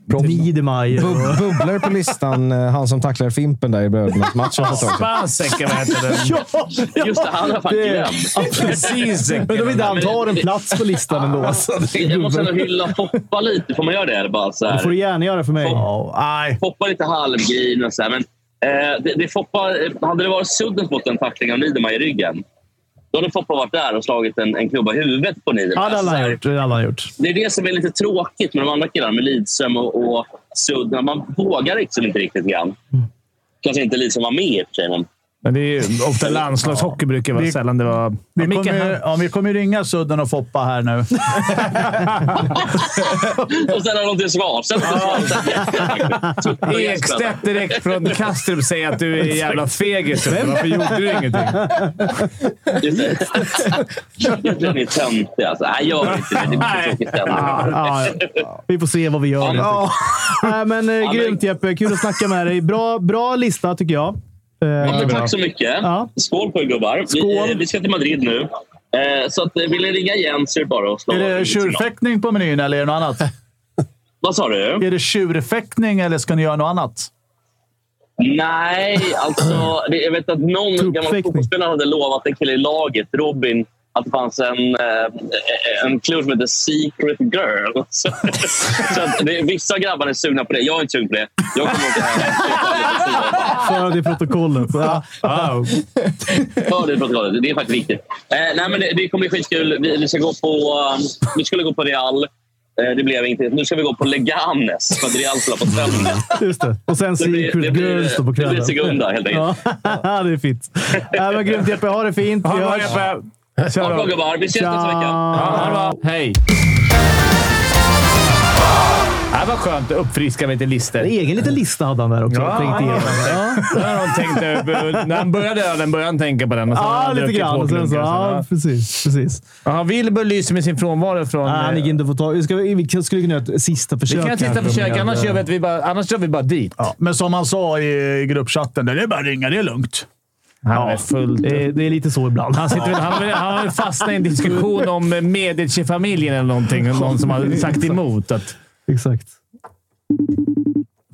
S3: Niedermayer. och-
S6: Bub- Bubblor på listan. eh, Han som tacklar Fimpen där i brödernas match. för ett tag sedan.
S3: Mm.
S4: Spansäcken, vad heter den?
S3: Ja, ja,
S10: Just det, han har fan
S3: det-
S10: glömt.
S4: Precis.
S3: Men då vill inte han ta en
S10: det-
S3: plats på listan ändå. Alltså, det är
S10: Jag måste ändå
S3: gubben.
S10: hylla Foppa lite. Får man göra det? Eller bara så
S3: Det
S10: här?
S3: får du gärna göra för mig.
S1: ja, nej.
S10: Foppa lite halvgrin och så här, men eh, det, det Foppa, hade det varit Suddens mot en tackling av Niedermayer i ryggen, då hade Foppa varit där och slagit en, en klubba i huvudet på
S3: Ja, det
S10: Niedermayer.
S3: hade han gjort. Det
S10: Alltså,
S3: hade han gjort.
S10: det är det som är lite tråkigt med de andra killarna, med Lidström och, och Sudden. Man vågar liksom inte riktigt grann. Kanske inte Lidström var med i och för sig, men
S4: Men det är ju ofta landslagshockey brukar vara
S1: Vi-
S4: sällan det var...
S1: Vi
S4: Ja, Micke,
S1: kommer, ju-
S4: han-
S1: ja, vi kommer ju ringa Sudden och Foppa här nu.
S10: Och sen har de till Svanstedt.
S4: Ekstedt direkt från Kastrup säger att du är en jävla fegis. Varför gjorde du ingenting?
S10: Egentligen är ni töntiga. alltså. Nej, gör inte det. Det blir så tråkigt
S3: Ja,
S10: stämning.
S3: ja, ja. Vi får se vad vi gör. helt enkelt. Nej, men, eh,
S10: men-
S3: grymt Jeppe. Kul att snacka med dig. Bra, bra lista tycker jag. Eh,
S10: Ja, men tack så mycket.
S3: Ja.
S10: Skål på er gubbar. Vi, eh, vi ska till Madrid nu. Eh, så att, eh, vill ni ringa igen så är det bara att slå...
S1: Är det
S10: ett signal.
S1: tjurfäktning på menyn eller är det något annat?
S10: Vad sa du?
S1: Är det tjurfäktning eller ska ni göra något annat?
S10: Nej, alltså. det- Jag vet att någon gammal
S3: Truppfäktning.
S10: fotbollsspelare hade lovat en kille i laget, Robin, att det fanns en, eh, en klubb som heter Secret Girl. Så, så att det, vissa grabbar är sugna på det. Jag är inte sugen på det. Jag kommer åka hem.
S3: För det i protokollet. Ja.
S10: Hör det i protokollet. Det är faktiskt viktigt. Eh, nej, men det, det kommer bli skitkul. Vi, vi, ska gå på, um, vi skulle gå på Real. Eh, det blev inte. Nu ska vi gå på Leganes för att Real spelar på söndag.
S3: Just det. Och sen
S10: Det blir- det
S3: Secret
S10: blir-
S3: Girls då på
S10: det blir
S3: kvällen.
S10: sekunda, helt enkelt.
S3: Ja, det är fint. Nej, men, grymt Jeppe. Ha det fint.
S4: Ha
S3: Vi
S4: det bra,
S3: hörs.
S4: Jeppe!
S10: Ha det bra, gubbar. Vi ses nästa vecka.
S4: Ja, ha det bra. Hej! Det här var skönt att uppfriska med lite
S3: En
S4: lister.
S3: egen liten lista hade han där också.
S4: Ja.
S3: Trängt igenom. Ja,
S4: Där har de tänkt, eh, när han började ölen började han tänka på den. och sen har
S3: ja
S4: han
S3: lite
S4: druckit
S3: grann.
S4: två
S3: Och sen så,
S4: klunkar och sen,
S3: ja,
S4: ja.
S3: precis. precis.
S4: Jaha, Wilbur lyser med sin frånvaro från... eh,
S3: Nej, han gick inte att få tag i. Ska vi, vi skulle kunna göra ett sista
S4: vi
S3: försök.
S4: kan titta på
S3: kanske
S4: kök,
S3: med-
S4: annars gör vi, att vi bara, annars gör vi bara dit.
S1: Ja. Men som han sa i, i gruppchatten, där, det är bara att ringa, det är lugnt.
S4: Han är fullt
S3: Det är, det är lite så ibland.
S4: Han, sitter, väl- han, vill- han har fastnat i en diskussion om Medici-familjen eller någonting. Någon som har sagt emot. Att,
S3: Exakt.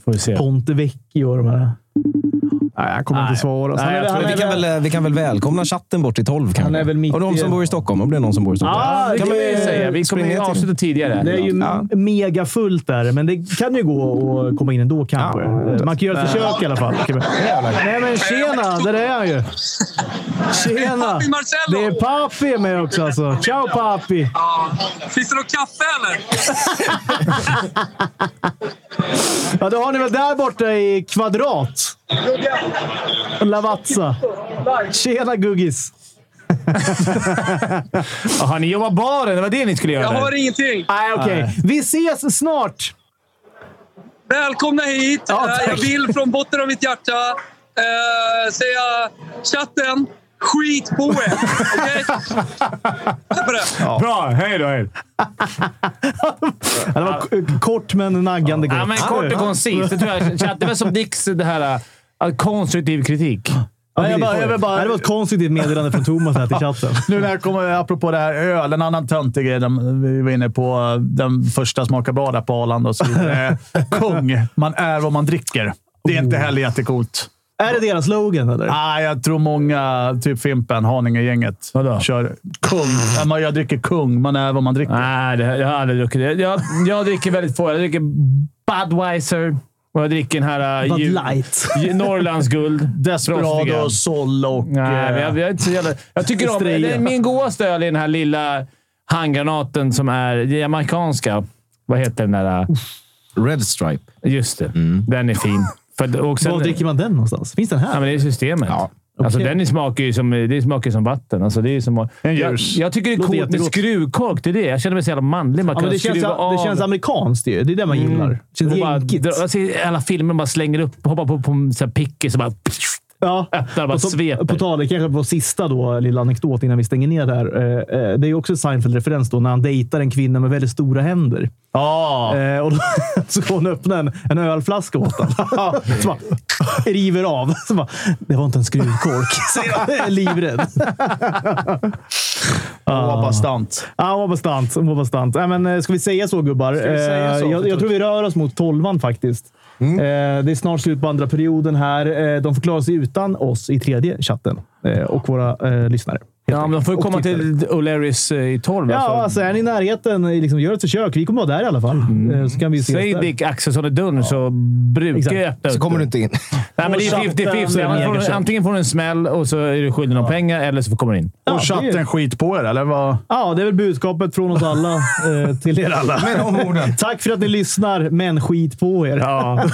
S4: får vi se.
S3: Ponte Vecchio och de här. Nej, jag kommer inte svara. Så
S4: Nej,
S3: han är-
S4: jag
S3: han är
S4: tror
S6: Men vi, kan
S3: väl-
S6: väl, eh, vi kan väl välkomna chatten bort till 12 kanske?
S3: Han är väl mitt
S6: Och de
S3: i-
S6: som bor i Stockholm, om det är någon som bor i Stockholm.
S3: Ja,
S4: Det kan vi säga. Vi kommer ju
S6: springa till-
S4: avsluta tidigare.
S3: Det är ju
S6: Ja.
S3: mega fullt där, men det kan ju gå att komma in ändå kanske. Man kan göra ett försök i alla fall. Nej, men tjena! Där är han ju. Tjena!
S9: Papi Marcello!
S3: Det är Papi med också alltså. Ciao Papi!
S9: Ja. Finns det något kaffe eller?
S3: Ja, då har ni väl där borta i Kvadrat. Lavazza. Tjena Guggis!
S4: Jaha, ni jobbar baren. Det var det ni skulle göra.
S9: Jag
S4: där.
S9: har ingenting.
S3: Nej, okej. Vi ses snart!
S9: Välkomna hit!
S3: Ja,
S9: Eh,
S3: tack.
S9: jag vill från botten av mitt hjärta eh, säga chatten, skit på er! Okej? Tack för det.
S4: Bra! Hej då! Hej.
S3: Ja, det var k- kort men naggande gott.
S4: Ja, men kort och koncist. Det tror jag. Chatt, Det var som Dicks det här äh, konstruktiv kritik.
S3: Ja, jag bara,
S1: jag vill bara-
S3: Det var ett konstigt meddelande från Thomas här till chatten.
S1: Nu när jag kommer, apropå det här öl, en annan töntig grej de- vi var inne på. Den första smakar bra där på Arlanda och så vidare. Eh, Kung. Man är vad man dricker. Det är inte heller jättecoolt.
S3: Är det deras slogan eller?
S1: Ah, jag tror många, typ Fimpen, Haninge-gänget,
S4: Vadå?
S1: kör kung. Ja, man- Jag dricker kung. Man är vad man dricker.
S4: Nej, det, jag har aldrig druckit det. Jag, jag dricker väldigt få. Jag dricker Budweiser och jag dricker den här... äh,
S3: Bud
S4: ju-
S3: Light.
S4: ju- Norrlands guld. Frostiga.
S1: Desperado, Sol och...
S4: Nej, men
S1: eh,
S4: jag, jag, är inte så jävla, jag tycker om...
S3: Estrella.
S4: Det, min godaste öl är den här lilla handgranaten som är jamaicanska. Vad heter den där? äh,
S6: Red Stripe.
S4: Just det. Den är fin. För, och sen,
S3: Var dricker man den någonstans? Finns den
S4: Ja,
S3: här?
S4: men det är systemet. Alltså,
S3: Okej.
S4: den smakar ju som, det smakar ju som vatten. Alltså, det är ju som,
S1: En
S4: jag,
S1: ljus.
S4: jag tycker det är
S3: Låter
S4: coolt med
S3: jättegott.
S4: skruvkork. Det är det. Jag känner mig så jävla manlig. Man
S3: Ja,
S4: kan
S3: men det,
S4: skruva
S3: känns,
S4: av.
S3: det känns amerikanskt ju. Det är det man gillar. Det känns
S4: Och Mm. bara
S3: jänkigt.
S4: dra- Jag ser alla filmer bara slänger upp, hoppar på, på en sån här pickis och bara...
S3: Ja.
S4: öppnar, bara
S3: Och så-
S4: sveper.
S3: På tal, det kanske vår sista då, lilla anekdot innan vi stänger ner där. Det är ju också en Seinfeld-referens då när han dejtar en kvinna med väldigt stora händer.
S1: Ja.
S3: Eh, och då, så går hon och öppnar en, en ölflaska åt honom. så bara, river av. Så bara, det var inte en skruvkork. Så jag är livrädd.
S1: Och var bastant.
S3: Ja, hon var bastant. Hon var bastant. Nej, men, eh, ska vi säga så, gubbar?
S1: säga så?
S3: Eh, jag, jag tror vi rör oss mot tolvan faktiskt. Eh, det är snart slut på andra perioden här. Eh, de får klara sig utan oss i tredje chatten eh, och våra eh, lyssnare.
S4: Ja, men de får ju
S3: Och
S4: komma
S3: tittare.
S4: till O'Learys eh, i torv.
S3: Ja,
S4: alltså.
S3: alltså är ni i närheten, eh, liksom, gör ett försök. Vi kommer vara där i alla fall. Eh, så kan vi ses
S4: Säg
S3: där.
S4: Dick Axelsson är dun så brukar
S3: Exakt.
S4: jag öppna
S6: Så
S4: upp
S6: kommer
S4: det.
S6: du inte in.
S4: Nej, men det är
S3: Och chatten
S4: 50-50. Annars får
S3: Jägersson.
S4: du- Antingen får du en smäll och så är du skyldig någon pengar eller så kommer du in.
S3: Ja,
S1: Och
S3: det är-
S1: chatten skit på er, eller? Vad?
S3: Ja, det är väl budskapet från oss alla eh, till er alla.
S6: Men om orden.
S3: Tack för att ni lyssnar, men skit på er.
S4: Ja.